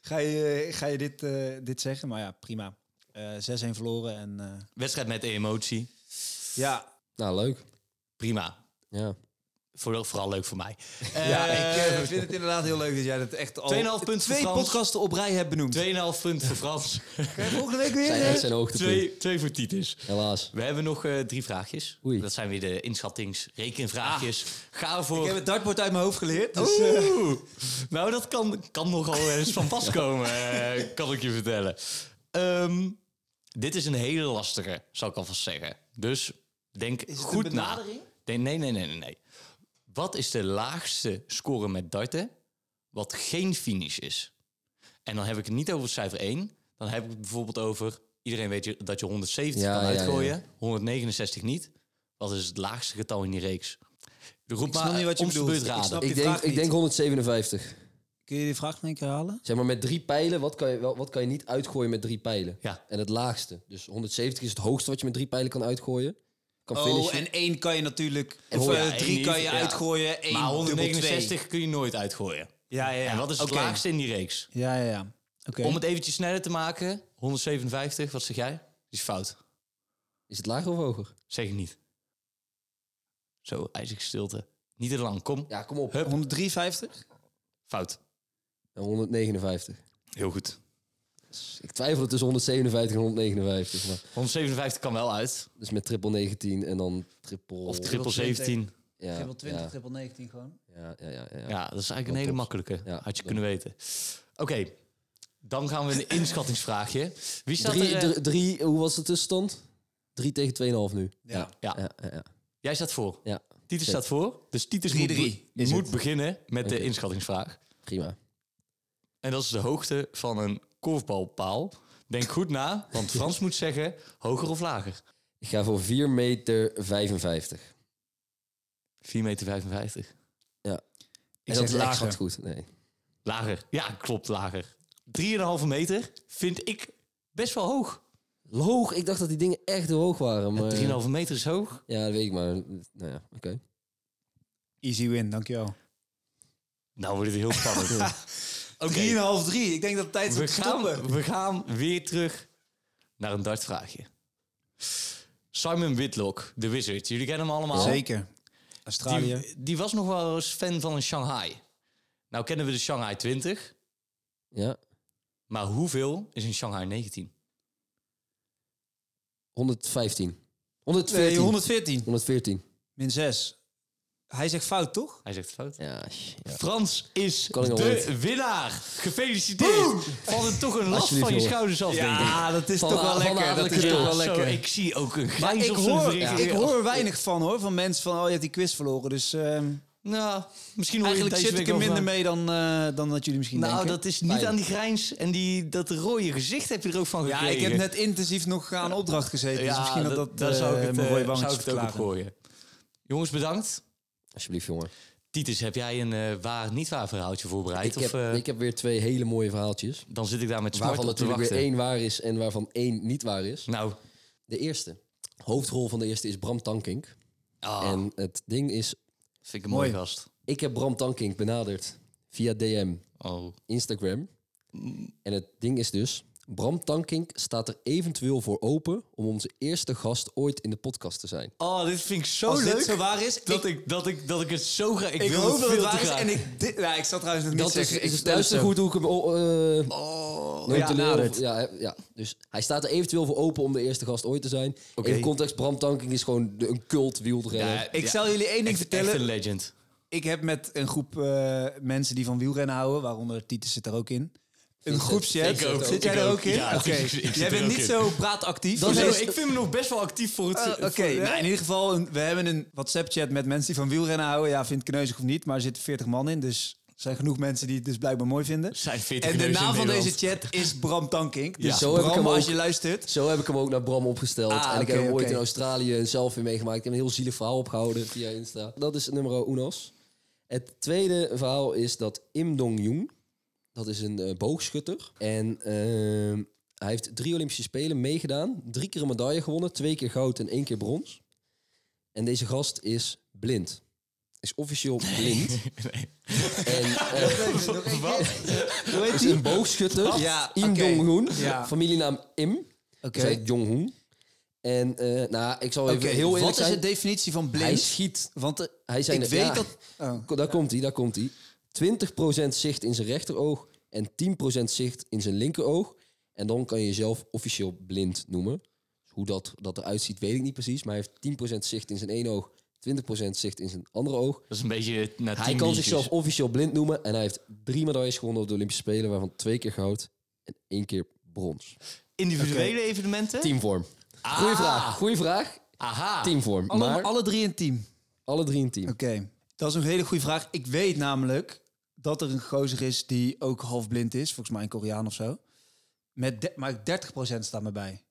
Speaker 1: ga je, ga je dit, eh, dit zeggen? Maar ja, prima. Eh 6-1 verloren en eh,
Speaker 2: Wedstrijd met emotie.
Speaker 1: ja,
Speaker 3: Nou, leuk.
Speaker 2: Prima.
Speaker 3: Ja.
Speaker 2: Vooral, vooral leuk voor mij.
Speaker 1: (laughs) ja,
Speaker 2: Eh,
Speaker 1: ik eh, vind het inderdaad heel leuk dat jij dat echt al...
Speaker 2: 2,5 punt voor
Speaker 1: Twee
Speaker 2: Frans.
Speaker 1: podcasten op rij hebt benoemd.
Speaker 2: 2,5 punt voor
Speaker 1: (laughs)
Speaker 2: Frans.
Speaker 1: Volgende week weer.
Speaker 3: Zijn,
Speaker 1: eh?
Speaker 3: echt zijn hoogtepunt.
Speaker 2: Twee, twee voor Titus.
Speaker 3: Helaas.
Speaker 2: We hebben nog eh, drie vraagjes.
Speaker 3: Oei.
Speaker 2: Dat zijn weer de inschattingsrekenvraagjes. Ga ervoor.
Speaker 1: Ah. Ik heb het dartbord uit mijn hoofd geleerd. Dus, eh,
Speaker 2: Oeh. (laughs) Nou, dat kan, kan nogal eens van pas komen, eh, kan ik je vertellen. Ehm, dit is een hele lastige, zal ik alvast zeggen. Dus denk
Speaker 1: het een
Speaker 2: goed na.
Speaker 1: benadering?
Speaker 2: Nee, nee, nee, nee, nee, nee. Wat is de laagste score met darten wat geen finish is? En dan heb ik het niet over het cijfer 1. Dan heb ik het bijvoorbeeld over... Iedereen weet je, dat je 170
Speaker 3: Ja,
Speaker 2: kan
Speaker 3: ja, ja.
Speaker 2: uitgooien, 169 niet. Wat is het laagste getal in die reeks? Roep
Speaker 1: snap
Speaker 2: maar
Speaker 1: niet wat je
Speaker 2: om de
Speaker 1: bedoelt.
Speaker 2: beurt
Speaker 1: Ik
Speaker 2: raden.
Speaker 1: snap-
Speaker 3: Ik
Speaker 1: die
Speaker 3: denk,
Speaker 1: vraag
Speaker 3: ik
Speaker 1: niet.
Speaker 3: denk 157.
Speaker 1: Kun je die vraag nog een keer halen?
Speaker 3: Zeg maar met drie pijlen, wat kan je, wel, wat kan je niet uitgooien met drie pijlen?
Speaker 2: Ja.
Speaker 3: En het laagste. Dus 170 is het hoogste wat je met drie pijlen kan uitgooien. Kan
Speaker 1: Oh,
Speaker 3: finishen.
Speaker 1: en één kan je natuurlijk... Of
Speaker 2: ja,
Speaker 1: eh,
Speaker 2: één
Speaker 1: drie
Speaker 2: niet,
Speaker 1: kan je
Speaker 2: ja.
Speaker 1: uitgooien, één
Speaker 2: Maar
Speaker 1: dubbel twee.
Speaker 2: 169 kun je nooit uitgooien.
Speaker 1: Ja, ja, ja.
Speaker 2: En wat is het
Speaker 1: Oké.
Speaker 2: laagste in die reeks?
Speaker 1: Ja, ja, ja. Oké.
Speaker 2: Om het eventjes sneller te maken, 157, wat zeg jij? Die is fout.
Speaker 3: Is het lager of hoger?
Speaker 2: Zeg ik niet. Zo, ijzig stilte. Niet te lang, kom.
Speaker 3: Ja, kom op.
Speaker 2: Hup.
Speaker 1: 153?
Speaker 2: Fout.
Speaker 3: En 159.
Speaker 2: Heel goed.
Speaker 3: Ik twijfel tussen 157 en 159. Maar
Speaker 2: 157 kan wel uit.
Speaker 3: dus met triple 19 en dan triple...
Speaker 2: Of
Speaker 1: Oh,
Speaker 2: triple 17.
Speaker 3: ja, ja,
Speaker 1: triple 19 gewoon.
Speaker 3: ja, ja, ja, ja.
Speaker 2: Ja, dat is eigenlijk een hele
Speaker 3: tops.
Speaker 2: makkelijke.
Speaker 3: Ja,
Speaker 2: Had je
Speaker 3: dan-
Speaker 2: kunnen weten. Oké, dan
Speaker 1: (laughs)
Speaker 2: gaan we een inschattingsvraagje. Wie staat er...
Speaker 3: Drie,
Speaker 2: eh,
Speaker 3: drie, drie- hoe was de tussenstand? 3 tegen 2,5 nu.
Speaker 1: Ja.
Speaker 2: ja,
Speaker 3: Ja, ja, ja.
Speaker 2: jij staat voor.
Speaker 3: ja.
Speaker 2: Titus staat voor. Dus Titus
Speaker 1: Drie,
Speaker 2: moet, be-
Speaker 1: drie is
Speaker 2: moet
Speaker 1: het.
Speaker 2: beginnen met de
Speaker 3: Oké.
Speaker 2: inschattingsvraag.
Speaker 3: Prima.
Speaker 2: En dat is de hoogte van een korfbalpaal. Denk goed na, want Frans moet zeggen hoger of lager.
Speaker 3: Ik ga voor 4 meter 55.
Speaker 2: 4,55 meter.
Speaker 1: Ik zeg
Speaker 3: en dat is echt
Speaker 1: lager.
Speaker 3: schat goed. Nee.
Speaker 2: Lager. Ja, klopt, lager. 3,5 meter vind ik best wel hoog.
Speaker 3: Hoog? Ik dacht dat die dingen echt heel hoog waren. Maar...
Speaker 2: 3,5 meter is hoog.
Speaker 3: Ja, dat weet ik maar. Nou ja, oké.
Speaker 1: Easy win, dankjewel.
Speaker 2: Nou wordt het heel spannend. Oké,
Speaker 1: 3,5, 3. Ik denk dat het tijd is om
Speaker 2: we,
Speaker 1: te stoppen.
Speaker 2: gaan, we gaan weer terug naar een dartvraagje. Simon Whitlock, de wizard. Jullie kennen hem allemaal.
Speaker 1: Zeker. Australië.
Speaker 2: Die, die was nog wel eens fan van een Shanghai. Nou kennen we de Shanghai 20,
Speaker 3: Ja,
Speaker 2: maar hoeveel is een Shanghai 19?
Speaker 3: 115. 114.
Speaker 1: Nee, 114.
Speaker 3: 114.
Speaker 1: Min 6. Hij zegt fout, toch?
Speaker 2: Hij zegt fout.
Speaker 3: Ja, sh- ja.
Speaker 2: Frans is
Speaker 3: Kan ik nog
Speaker 2: de
Speaker 3: weten.
Speaker 2: winnaar. Gefeliciteerd. Valt het toch een last
Speaker 3: Alsjeblieft,
Speaker 2: van je
Speaker 3: jongen.
Speaker 2: schouders af, denk ik.
Speaker 1: dat is
Speaker 3: Van de- van de adellijke
Speaker 2: Ja,
Speaker 3: is toch wel
Speaker 2: zo,
Speaker 3: lekker.
Speaker 2: ik zie ook een
Speaker 1: Maar
Speaker 2: grijns
Speaker 1: ik
Speaker 2: op zijn
Speaker 1: hoor,
Speaker 2: gezicht.
Speaker 1: ik hoor er weinig van, hoor. Van mensen van, oh, je hebt die quiz verloren. Dus ehm,
Speaker 2: Nou, misschien hoor je
Speaker 1: eigenlijk
Speaker 2: deze
Speaker 1: zit ik
Speaker 2: week
Speaker 1: er
Speaker 2: wel
Speaker 1: minder
Speaker 2: van.
Speaker 1: mee dan, eh, dan dat jullie misschien
Speaker 2: Nou,
Speaker 1: denken.
Speaker 2: dat is niet
Speaker 3: Fijn.
Speaker 2: aan die grijns en die, dat rode gezicht heb je er ook van
Speaker 1: Ja,
Speaker 2: gekregen.
Speaker 1: ik heb net intensief nog aan opdracht gezeten. dus misschien dat dat,
Speaker 2: daar
Speaker 1: eh,
Speaker 2: zou ik het,
Speaker 1: mijn
Speaker 2: eh,
Speaker 1: rode wangetjes
Speaker 2: zou ik het ook op
Speaker 1: verklaren.
Speaker 2: gooien. Jongens, bedankt.
Speaker 3: Alsjeblieft, jongen.
Speaker 2: Titus, heb jij een eh, waar niet waar verhaaltje voorbereid?
Speaker 3: Ik heb,
Speaker 2: of, eh,
Speaker 3: ik heb weer twee hele mooie verhaaltjes.
Speaker 2: Dan zit ik daar met smart
Speaker 3: Waarvan
Speaker 2: op te
Speaker 3: natuurlijk weer
Speaker 2: wachten.
Speaker 3: één waar is en waarvan één niet waar is.
Speaker 2: Nou,
Speaker 3: De eerste. Hoofdrol van de eerste is Bram Tankink.
Speaker 2: ah,
Speaker 3: En het ding is,
Speaker 2: vind ik een mooie
Speaker 1: Mooi.
Speaker 2: gast.
Speaker 3: ik heb Bram Tankink benaderd via DM,
Speaker 2: Oh.
Speaker 3: Instagram. En het ding is dus, Bram Tankink staat er eventueel voor open om onze eerste gast ooit in de podcast te zijn.
Speaker 2: oh, dit vind ik zo
Speaker 1: Als
Speaker 2: leuk.
Speaker 1: dit zo waar is,
Speaker 2: dat, ik, dat, ik, dat ik het zo graag... Ik,
Speaker 1: Ik
Speaker 2: wil
Speaker 1: hoop
Speaker 2: het
Speaker 1: dat
Speaker 2: veel
Speaker 1: het
Speaker 2: te
Speaker 1: waar is.
Speaker 2: graag.
Speaker 1: En ik, dit, nou, ik zal trouwens nog niet
Speaker 3: Dat is,
Speaker 1: zeggen.
Speaker 3: is
Speaker 1: ik
Speaker 3: het
Speaker 1: stel het
Speaker 3: luister
Speaker 1: zo.
Speaker 3: goed hoe ik hem oh, eh,
Speaker 2: Oh,
Speaker 3: nooit
Speaker 2: ja,
Speaker 3: teleur-
Speaker 2: nadert.
Speaker 3: ja, hè, ja, dus hij staat er eventueel voor open om de eerste gast ooit te zijn.
Speaker 2: Oké.
Speaker 3: In context, Bram Tankink is gewoon de- een cult wielrenner.
Speaker 2: Ja,
Speaker 1: Ik zal jullie één ding
Speaker 2: echt,
Speaker 1: vertellen.
Speaker 2: Echt een legend.
Speaker 1: Ik heb met een groep eh, mensen die van wielrennen houden, waaronder Titus zit er ook in. Een groepschat.
Speaker 2: Ik ook.
Speaker 1: Zit jij
Speaker 2: Ik
Speaker 1: er
Speaker 2: ook.
Speaker 1: ook in?
Speaker 2: Ja,
Speaker 1: Oké.
Speaker 2: ik zit er
Speaker 1: Jij bent
Speaker 2: ook
Speaker 1: niet
Speaker 2: in.
Speaker 1: zo praatactief.
Speaker 3: Dan
Speaker 1: Dus
Speaker 3: heb
Speaker 1: is-
Speaker 2: ik vind hem nog best wel actief voor het...
Speaker 1: Eh, Oké,
Speaker 2: voor- ja.
Speaker 1: nou, in ieder geval, een- we hebben een WhatsApp-chat met mensen die van wielrennen houden. Ja, vindt het kneuzig of niet, maar er zitten 40 man in. Dus er zijn genoeg mensen die het dus blijkbaar mooi vinden.
Speaker 2: Zijn veertig
Speaker 1: En de
Speaker 2: neuzen in
Speaker 1: naam van
Speaker 2: Nederland.
Speaker 1: deze chat is Bram Tankink. Dus
Speaker 2: Ja.
Speaker 3: Zo heb ik
Speaker 1: Bram,
Speaker 3: hem
Speaker 1: als
Speaker 3: ook.
Speaker 1: je luistert.
Speaker 3: (laughs) Zo heb ik hem ook naar Bram opgesteld.
Speaker 1: Ah,
Speaker 3: en ik
Speaker 1: oké,
Speaker 3: heb hem ooit
Speaker 1: oké.
Speaker 3: in Australië een selfie meegemaakt. Ik heb een heel zielig verhaal opgehouden via Insta. Dat is nummer unos. Het tweede verhaal is dat Im Dong-joon, dat is een eh, boogschutter. En ehm, hij heeft drie Olympische Spelen meegedaan. Drie keer een medaille gewonnen. Twee keer goud en één keer brons. En deze gast is blind. Is officieel blind.
Speaker 1: (laughs)
Speaker 3: En eh,
Speaker 1: Hoe heet
Speaker 3: is
Speaker 1: die?
Speaker 3: een boogschutter.
Speaker 1: Ja,
Speaker 3: Im
Speaker 1: oké.
Speaker 3: Dong-hoon.
Speaker 1: Ja.
Speaker 3: Familienaam Im.
Speaker 1: Oké.
Speaker 3: Zij Jong-hoon. En eh, nou, ik zal even heel eerlijk
Speaker 1: wat is
Speaker 3: zijn.
Speaker 1: de definitie van blind?
Speaker 3: hij schiet.
Speaker 1: Want eh,
Speaker 3: Hij zei
Speaker 1: ik
Speaker 3: net-
Speaker 1: weet
Speaker 3: ja.
Speaker 1: dat... Oh.
Speaker 3: Ko- Daar komt hij, daar komt hij. 20% zicht in zijn rechteroog en 10% zicht in zijn linkeroog. En dan kan je jezelf officieel blind noemen. Dus hoe dat, dat eruit ziet, weet ik niet precies. Maar hij heeft 10% zicht in zijn ene oog, 20% zicht in zijn andere oog.
Speaker 2: Dat is een beetje naar
Speaker 3: Hij
Speaker 2: tien
Speaker 3: kan
Speaker 2: liedjes.
Speaker 3: zichzelf officieel blind noemen. En hij heeft drie medailles gewonnen op de Olympische Spelen, waarvan twee keer goud en één keer brons.
Speaker 2: Individuele evenementen?
Speaker 3: Teamvorm.
Speaker 2: Ah,
Speaker 3: Goeie vraag, goeie vraag.
Speaker 2: Aha.
Speaker 3: Teamvorm.
Speaker 1: Alle,
Speaker 3: maar
Speaker 1: alle drie een team.
Speaker 3: alle drie een team.
Speaker 1: Oké, dat is een hele goede vraag. Ik weet namelijk dat er een gozer is die ook halfblind is. Volgens mij een Koreaan of zo. Met de- maar 30% staat me bij.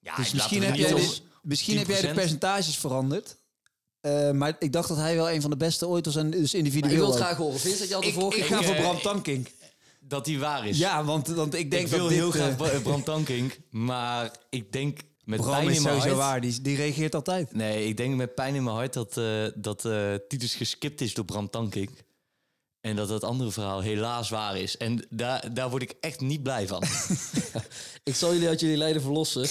Speaker 2: Ja,
Speaker 1: Dus
Speaker 2: ik
Speaker 1: misschien,
Speaker 2: laat
Speaker 1: heb
Speaker 2: het
Speaker 1: jij,
Speaker 2: niet
Speaker 1: de,
Speaker 2: los.
Speaker 1: misschien heb jij de
Speaker 2: 10%.
Speaker 1: percentages veranderd. Eh, maar ik dacht dat hij wel een van de beste ooit was. En dus individueel
Speaker 3: Ik wil het
Speaker 1: ook.
Speaker 3: graag horen. Vince, dat je al de
Speaker 1: Ik,
Speaker 3: vorige
Speaker 1: ik ga
Speaker 2: eh,
Speaker 1: voor Bram
Speaker 2: ik-
Speaker 1: Tankink.
Speaker 2: Dat die waar is.
Speaker 1: Ja, want, want ik denk
Speaker 2: ik wil
Speaker 1: dat dit,
Speaker 2: heel graag
Speaker 1: eh,
Speaker 2: Bra- Bram Tankink, maar
Speaker 1: (laughs)
Speaker 2: ik denk met
Speaker 1: Bram
Speaker 2: pijn
Speaker 1: is
Speaker 2: in mijn
Speaker 1: sowieso
Speaker 2: hart...
Speaker 1: waar. Die, die reageert altijd.
Speaker 2: Nee, ik denk met pijn in mijn hart dat, eh, dat eh, Titus geskipt is door Bram Tankink. En dat dat andere verhaal helaas waar is. En daar, daar word ik echt niet blij van.
Speaker 3: Ik zal jullie uit jullie lijden verlossen.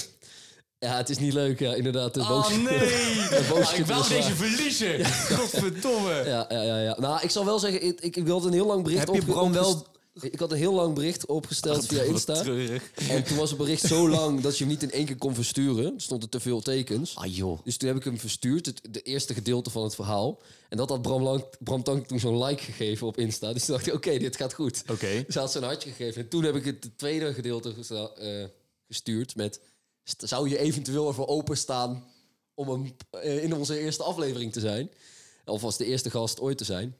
Speaker 3: Ja, het is niet leuk. Ja, inderdaad. Het
Speaker 2: Oh
Speaker 3: boodschap-
Speaker 2: nee!
Speaker 3: boodschap
Speaker 2: Ah, ik wou
Speaker 3: is
Speaker 2: deze
Speaker 3: waar.
Speaker 2: verliezen. Godverdomme.
Speaker 3: Ja, ja, ja, ja. Nou, ik zal wel zeggen, ik, ik, ik had een heel lang bericht
Speaker 1: Heb je
Speaker 3: opge-
Speaker 1: Bram wel-
Speaker 3: opgest- Ik had een heel lang
Speaker 1: (laughs)
Speaker 3: bericht opgesteld via Insta.
Speaker 2: Treurig.
Speaker 3: En toen was het bericht zo lang dat je hem niet in één keer kon versturen. Er stonden te veel tekens.
Speaker 2: Ah joh.
Speaker 3: Dus toen heb ik hem verstuurd, het de eerste gedeelte van het verhaal. En dat had Bram, Lang, Bram Tank toen zo'n like gegeven op Insta. Dus toen dacht ik, oké, dit gaat goed.
Speaker 2: Oké.
Speaker 3: Dus hij had zo'n hartje gegeven. En toen heb ik het de tweede gedeelte gesta- eh, gestuurd met... "St- Zou je eventueel ervoor openstaan om een, eh, in onze eerste aflevering te zijn? Of als de eerste gast ooit te zijn?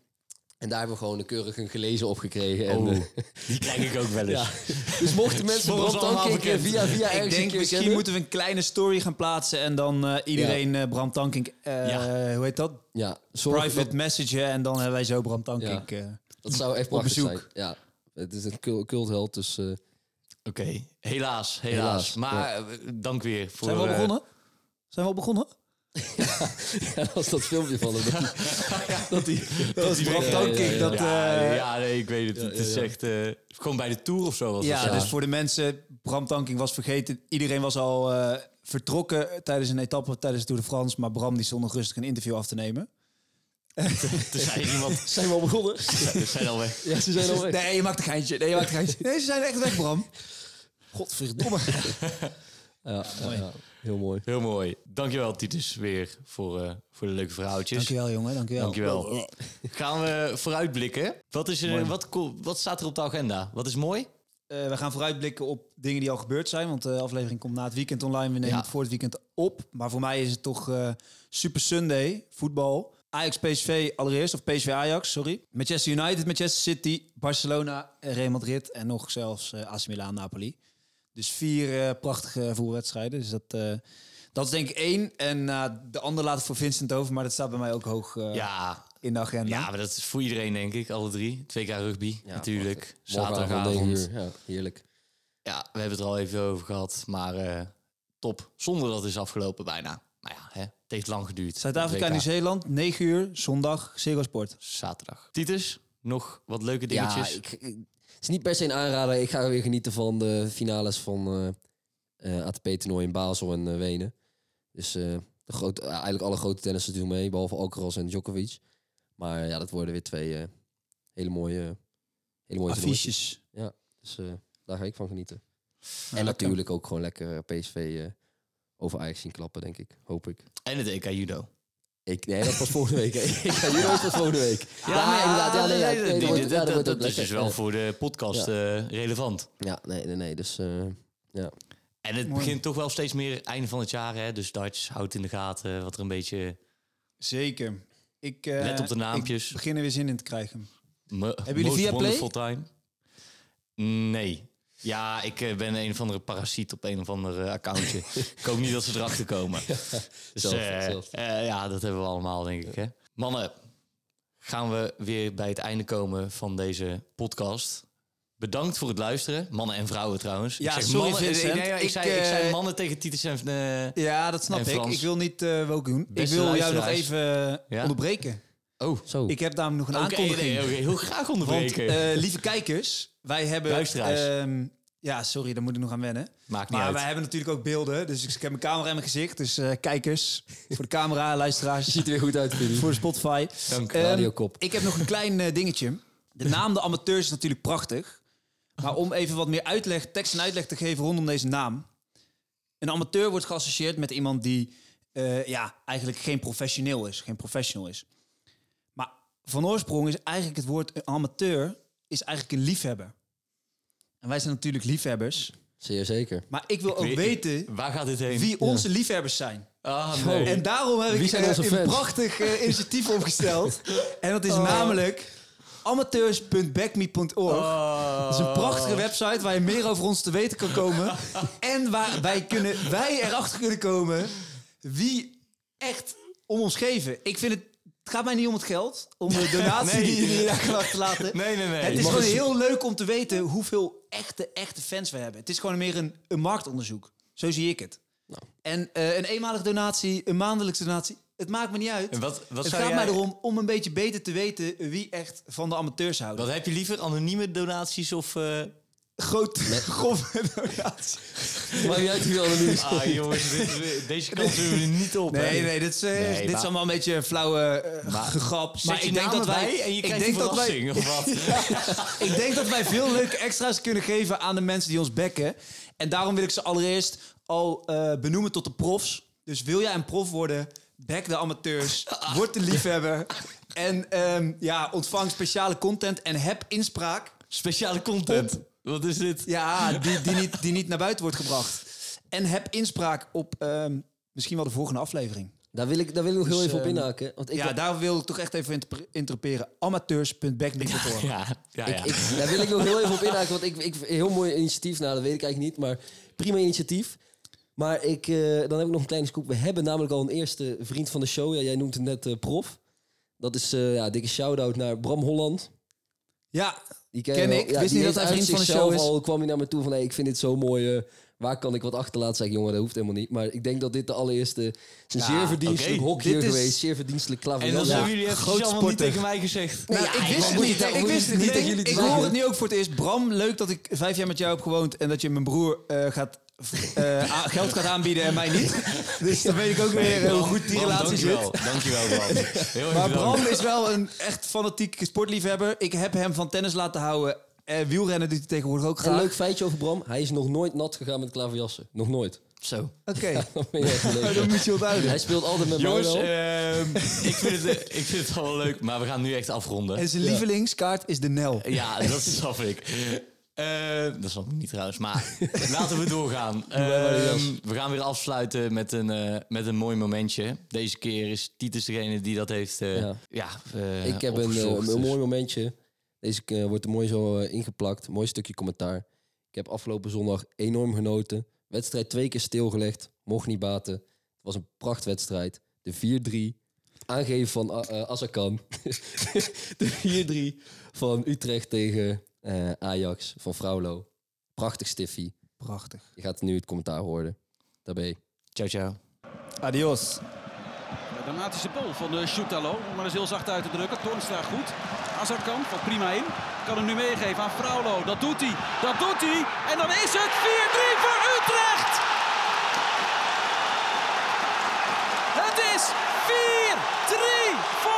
Speaker 3: En daar hebben we gewoon een keurig een gelezen op gekregen. En,
Speaker 2: Oh,
Speaker 3: eh,
Speaker 2: die krijg ik ook wel
Speaker 3: ja.
Speaker 2: eens.
Speaker 3: Dus
Speaker 2: (laughs)
Speaker 3: mochten mensen
Speaker 2: Volgens
Speaker 3: Bram
Speaker 2: allemaal
Speaker 3: Tank een keer
Speaker 2: bekend.
Speaker 3: eh, via via
Speaker 1: ik
Speaker 3: ergens een
Speaker 1: denk
Speaker 3: keer
Speaker 1: misschien
Speaker 3: kennen-
Speaker 1: moeten we een kleine story gaan plaatsen. En dan eh, iedereen eh, Bram Tankink... eh,
Speaker 2: Ja.
Speaker 1: Hoe heet dat?
Speaker 3: Ja, zorg
Speaker 1: Private
Speaker 3: dat-
Speaker 1: messagen. En dan hebben wij zo Bram Tankink. eh.
Speaker 3: Dat zou echt prachtig
Speaker 1: bezoek.
Speaker 3: zijn. Ja. Het is een cul- cultheld, dus... eh, (laughs)
Speaker 2: Oké, helaas, helaas,
Speaker 3: Helaas,
Speaker 2: Maar eh, dank weer voor...
Speaker 1: Zijn we al
Speaker 2: eh,
Speaker 1: begonnen? Zijn we al begonnen?
Speaker 3: ja, dat was dat filmpje van hem. Dat die, dat die,
Speaker 1: Dat is Bram
Speaker 3: weer-
Speaker 1: Tankink.
Speaker 3: ja, ja,
Speaker 1: dat,
Speaker 2: ja,
Speaker 1: eh,
Speaker 2: ja, nee, ik weet het. het is echt... eh, gewoon bij de Tour of zo was
Speaker 1: ja,
Speaker 2: het.
Speaker 1: dus voor de mensen, Bram Tankink was vergeten. Iedereen was al eh, vertrokken tijdens een etappe tijdens de Tour de France. Maar Bram die stond nog rustig een interview af te nemen.
Speaker 2: Er zei (laughs) iemand...
Speaker 3: Zijn we al begonnen?
Speaker 2: We zijn al weg.
Speaker 3: Ja, ze
Speaker 1: (laughs)
Speaker 3: zijn al weg.
Speaker 1: Nee, je maakt een geintje. Nee, je maakt een geintje. Nee, ze zijn echt weg, Bram.
Speaker 3: Godverdomme. Ja, ja, ja, heel mooi.
Speaker 2: Heel mooi. Dankjewel, Titus, weer voor, eh, voor de leuke verhaaltjes.
Speaker 1: Dankjewel, jongen. Dankjewel. Oh,
Speaker 2: Dankjewel. Gaan we vooruitblikken. Wat, is er, wat, ko- wat staat er op de agenda? Wat is mooi?
Speaker 1: Eh, we gaan vooruitblikken op dingen die al gebeurd zijn. Want de aflevering komt na het weekend online. We nemen
Speaker 2: Ja.
Speaker 1: het voor het weekend op. Maar voor mij is het toch eh, Super Sunday, voetbal. Ajax PSV allereerst, of PSV Ajax, sorry. Manchester United, Manchester City, Barcelona, eh, Real Madrid en nog zelfs eh, AC Milan, Napoli. Dus vier eh, prachtige voetbalwedstrijden. Dus dat, eh, dat is denk ik één. En eh, de ander laat ik voor Vincent over, maar dat staat bij mij ook hoog eh,
Speaker 2: Ja.
Speaker 1: in de agenda.
Speaker 2: ja, maar dat is voor iedereen, denk ik. Alle drie. Twee keer rugby, natuurlijk.
Speaker 3: Morgenavond, negen
Speaker 2: Zaterdagavond.
Speaker 3: uur. Ja, heerlijk.
Speaker 2: Ja, we hebben het er al even over gehad. Maar eh, top. Zonder dat is afgelopen bijna. Maar ja, hè, het heeft lang geduurd.
Speaker 1: Zuid-Afrika,
Speaker 2: WK.
Speaker 1: Nieuw-Zeeland, 9 uur, zondag, Ziggo Sport.
Speaker 2: Zaterdag. Titus, nog wat leuke
Speaker 3: Ja,
Speaker 2: dingetjes?
Speaker 3: ik, ik- het is niet per se een aanrader. Ik ga weer genieten van de finales van eh, eh, ATP-toernooi in Basel en eh, Wenen. Dus eh, de grote, eh, eigenlijk alle grote tennissers doen mee, behalve Alcaraz en Djokovic. Maar ja, dat worden weer twee eh, hele mooie, hele mooie toernooitjes.
Speaker 1: Affiches.
Speaker 3: Dus eh, daar ga ik van genieten.
Speaker 1: Nou, lekker.
Speaker 3: en natuurlijk ook gewoon lekker eh, PSV eh, over Ajax zien klappen, denk ik. Hoop ik.
Speaker 2: En het EK Judo.
Speaker 3: ik nee, dat was volgende week. hè. ik ga jullie ook pas volgende week.
Speaker 2: Ja,
Speaker 3: nee, inderdaad. Ja, nee, ja,
Speaker 2: Ah, nee,
Speaker 3: nee,
Speaker 2: nee,
Speaker 3: dat wordt-
Speaker 2: dit-
Speaker 3: ja, dat
Speaker 2: dat-
Speaker 3: wordt ook
Speaker 2: dat is dus
Speaker 3: lekker.
Speaker 2: wel
Speaker 3: Ja.
Speaker 2: voor de podcast eh, relevant.
Speaker 3: Ja, nee, nee, nee. Dus eh,
Speaker 2: En het
Speaker 1: Mooi.
Speaker 2: begint toch wel steeds meer einde van het jaar, hè? Dus Darts houdt in de gaten wat er een beetje...
Speaker 1: Zeker. Ik, eh,
Speaker 2: Let op de naampjes.
Speaker 1: Ik begin er weer zin in te krijgen.
Speaker 2: Hebben
Speaker 1: jullie Viaplay?
Speaker 2: Time. Nee. Ja, ik eh, ben een of andere parasiet op een of ander eh,
Speaker 1: (laughs)
Speaker 2: accountje. ik hoop niet dat ze erachter komen. Dus,
Speaker 3: Zelfde,
Speaker 2: eh,
Speaker 3: zelfde.
Speaker 2: eh, ja, dat hebben we allemaal, denk ik. Hè? Mannen, gaan we weer bij het einde komen van deze podcast. Bedankt voor het luisteren. Mannen en vrouwen trouwens.
Speaker 1: Ja, sorry, Vincent.
Speaker 2: nee, nee, ik,
Speaker 1: Ik,
Speaker 2: zei, ik
Speaker 1: eh,
Speaker 2: zei mannen tegen Titus en... eh,
Speaker 1: Ja, dat snap
Speaker 2: En
Speaker 1: ik.
Speaker 2: Frans.
Speaker 1: Ik wil niet eh welk doen.
Speaker 2: Beste
Speaker 1: ik wil jou nog
Speaker 2: luisteraars.
Speaker 1: even eh,
Speaker 2: Ja?
Speaker 1: onderbreken.
Speaker 2: oh,
Speaker 3: zo.
Speaker 1: Ik heb namelijk nog een
Speaker 2: Oké,
Speaker 1: aankondiging.
Speaker 2: (laughs) nee, oké, heel graag
Speaker 1: Want
Speaker 2: onderbreken.
Speaker 1: eh, lieve kijkers, wij hebben
Speaker 2: Luisteraars.
Speaker 1: ehm, Ja, sorry, daar moet ik nog aan wennen.
Speaker 2: Maakt niet
Speaker 1: Maar
Speaker 2: uit.
Speaker 1: wij hebben natuurlijk ook beelden, dus ik ik heb mijn camera in mijn gezicht. Dus eh, kijkers, voor de camera, luisteraars,
Speaker 2: (laughs)
Speaker 3: Ziet er weer goed uit, Filip.
Speaker 1: voor Spotify.
Speaker 2: Dank.
Speaker 1: Ehm,
Speaker 3: Mhm. Radiokop.
Speaker 1: ik heb nog een klein eh, dingetje. De naam de amateurs is natuurlijk prachtig. Maar om even wat meer uitleg, tekst en uitleg te geven rondom deze naam. Een amateur wordt geassocieerd met iemand die eh, ja, eigenlijk geen professioneel is. Geen professional is. Maar van oorsprong is eigenlijk het woord een amateur is eigenlijk een liefhebber. En wij zijn natuurlijk liefhebbers.
Speaker 3: Zeer zeker.
Speaker 1: Maar ik wil ook
Speaker 2: Weet-
Speaker 1: weten
Speaker 2: Waar gaat dit heen?
Speaker 1: wie onze liefhebbers zijn.
Speaker 2: Ah, nee.
Speaker 1: En daarom heb
Speaker 3: Wie
Speaker 1: ik
Speaker 3: zijn
Speaker 1: eh,
Speaker 3: onze
Speaker 1: een
Speaker 3: fans? Oh.
Speaker 1: prachtig eh, initiatief opgesteld. En dat is namelijk amateurs.backme.org.
Speaker 2: Oh.
Speaker 1: Dat
Speaker 3: Oh.
Speaker 1: is een prachtige website waar je meer over ons te weten kan komen. en waar wij, kunnen, wij erachter kunnen komen wie echt om ons geven. Ik vind het... Het gaat mij niet om het geld, om
Speaker 3: (laughs)
Speaker 1: de donatie
Speaker 2: Nee.
Speaker 1: die je daar kan achterlaten.
Speaker 2: Nee, nee, nee.
Speaker 1: Het
Speaker 2: Je
Speaker 1: is
Speaker 2: mag
Speaker 1: gewoon
Speaker 2: eens-
Speaker 1: heel leuk om te weten hoeveel echte, echte fans we hebben. Het is gewoon meer een, een marktonderzoek. Zo zie ik het.
Speaker 2: Nou.
Speaker 1: En eh, een eenmalige donatie, een maandelijkse donatie, het maakt me niet uit.
Speaker 2: En wat, wat
Speaker 1: het
Speaker 2: zou
Speaker 1: gaat
Speaker 2: jij-
Speaker 1: mij erom om een beetje beter te weten wie echt van de amateurs houdt.
Speaker 2: Wat heb je liever, anonieme donaties of... eh,
Speaker 1: Groot, (laughs) grove donatie.
Speaker 3: Maar jij het al nu.
Speaker 2: Ah, jongens, dit-
Speaker 1: (laughs)
Speaker 2: deze kant doen we niet op. hè?
Speaker 1: Nee, nee, dit is, eh,
Speaker 2: Nee,
Speaker 1: dit
Speaker 2: maar-
Speaker 1: is allemaal een beetje een flauwe eh,
Speaker 2: Maar-
Speaker 1: gegrap.
Speaker 2: Zet je namen bij en je
Speaker 1: ik
Speaker 2: krijgt
Speaker 1: denk
Speaker 2: een
Speaker 1: dat wij,
Speaker 2: verrassing, of
Speaker 1: (laughs)
Speaker 2: wat?
Speaker 1: Ik denk dat wij veel leuke extra's kunnen geven aan de mensen die ons bekken. En daarom wil ik ze allereerst al eh, benoemen tot de profs. Dus wil jij een prof worden, bek de
Speaker 2: (laughs)
Speaker 1: amateurs, word de liefhebber. En ehm, ja, ontvang speciale content en heb inspraak
Speaker 2: Speciale content. Wat is dit?
Speaker 1: ja, die, die, niet, die niet naar buiten wordt gebracht. En heb inspraak op ehm, misschien wel de volgende aflevering.
Speaker 3: Daar wil ik, daar wil ik nog heel
Speaker 1: Dus,
Speaker 3: even op
Speaker 1: ehm,
Speaker 3: inhaken. Want ik,
Speaker 1: ja, daar wil ik toch echt even interpre- interperen. Amateurs.backnick.org.
Speaker 2: Ja, ja, ja.
Speaker 3: ik, ik- daar wil ik nog heel even op inhaken. Want ik, ik heel mooi initiatief. Nou, dat weet ik eigenlijk niet. Maar prima initiatief. Maar ik, eh, dan heb ik nog een kleine scoop. We hebben namelijk al een eerste vriend van de show. Ja, jij noemt hem net eh, prof. Dat is eh ja, dikke shout-out naar Bram Holland.
Speaker 1: Ja,
Speaker 3: Die
Speaker 1: Ken
Speaker 3: je wel.
Speaker 1: ik. Wist
Speaker 3: die
Speaker 1: niet dat
Speaker 3: heeft
Speaker 1: hij vriend
Speaker 3: uit
Speaker 1: van de
Speaker 3: zichzelf
Speaker 1: show is.
Speaker 3: Al kwam hij naar me toe van, hey, ik vind dit zo mooi. eh, waar kan ik wat achterlaten? Zeg ik, jongen, dat hoeft helemaal niet. Maar ik denk dat dit de allereerste... Het is een zeer verdienstelijk
Speaker 2: oké,
Speaker 3: hokje
Speaker 1: dit is-
Speaker 3: geweest. Zeer verdienstelijk klaver.
Speaker 2: en dan hebben jullie het
Speaker 1: groot
Speaker 2: allemaal niet
Speaker 1: sporter.
Speaker 2: tegen mij gezegd.
Speaker 1: Nou,
Speaker 3: ja,
Speaker 1: ik
Speaker 3: ik
Speaker 1: wist
Speaker 3: wou-
Speaker 1: het
Speaker 3: moet je
Speaker 1: niet.
Speaker 3: daar-
Speaker 1: Ik
Speaker 3: moet
Speaker 1: wist
Speaker 3: je
Speaker 1: het
Speaker 3: niet
Speaker 1: niet.
Speaker 3: tegen
Speaker 1: Ik,
Speaker 3: jullie
Speaker 1: ik
Speaker 3: te
Speaker 1: hoor
Speaker 3: zeggen.
Speaker 1: het nu ook voor het eerst. Bram, leuk dat ik vijf jaar met jou heb gewoond en dat je mijn broer eh, gaat, eh,
Speaker 2: (laughs)
Speaker 1: a- geld gaat aanbieden en mij niet. Dus dan weet ik ook weer eh, hoe goed die
Speaker 2: Bram,
Speaker 1: relatie
Speaker 2: dankjewel.
Speaker 1: zit.
Speaker 2: Dankjewel, Bram.
Speaker 1: (laughs)
Speaker 2: Heel erg
Speaker 1: Maar
Speaker 2: bedankt.
Speaker 1: Bram is wel een echt fanatiek sportliefhebber. Ik heb hem van tennis laten houden. Eh, wielrennen doet hij tegenwoordig ook
Speaker 3: Een
Speaker 1: graag.
Speaker 3: leuk feitje over Bram. Hij is nog nooit nat gegaan met klaverjassen. Nog nooit. (laughs)
Speaker 2: Zo.
Speaker 1: Oké, (laughs) Oh,
Speaker 3: Dat vind ik echt leuk.
Speaker 1: dan moet je onthouden.
Speaker 3: Hij speelt altijd met
Speaker 2: Jongens,
Speaker 3: mij wel.
Speaker 2: ehm, ik, vind het, ik vind het allemaal leuk, maar we gaan nu echt afronden.
Speaker 1: En zijn lievelingskaart is de Nel.
Speaker 3: (laughs)
Speaker 2: Ja, dat snap ik. Eh, dat snap ik niet trouwens,
Speaker 3: (laughs)
Speaker 2: maar laten we doorgaan. Ehm, we gaan weer afsluiten met een, eh, met een mooi momentje. Deze keer is Titus degene die dat heeft eh, ja.
Speaker 3: Ja.
Speaker 2: eh,
Speaker 3: ik heb een, eh,
Speaker 2: opgezocht,
Speaker 3: een
Speaker 2: dus-
Speaker 3: mooi momentje. Deze eh, wordt er mooi zo eh, ingeplakt. Mooi stukje commentaar. Ik heb afgelopen zondag enorm genoten. Wedstrijd twee keer stilgelegd. Mocht niet baten. Het was een prachtwedstrijd. De 4-3. Aangeven van A- eh, Azarkan. (laughs) De 4-3 van Utrecht tegen eh, Ajax van Fraulo. Prachtig stiffie.
Speaker 1: Prachtig.
Speaker 3: Je gaat nu het commentaar horen. Daarbij.
Speaker 2: Dus, Ciao, ciao.
Speaker 1: Adios.
Speaker 4: Een Dramatische bal van eh Shoutalo, om maar eens heel zacht uit te drukken. Toornstra goed. Azarkan valt prima in. Kan hem nu meegeven aan Fraulo. Dat doet hij. Dat doet hij. En dan is het 4-3 voor Utrecht. Het is 4-3 voor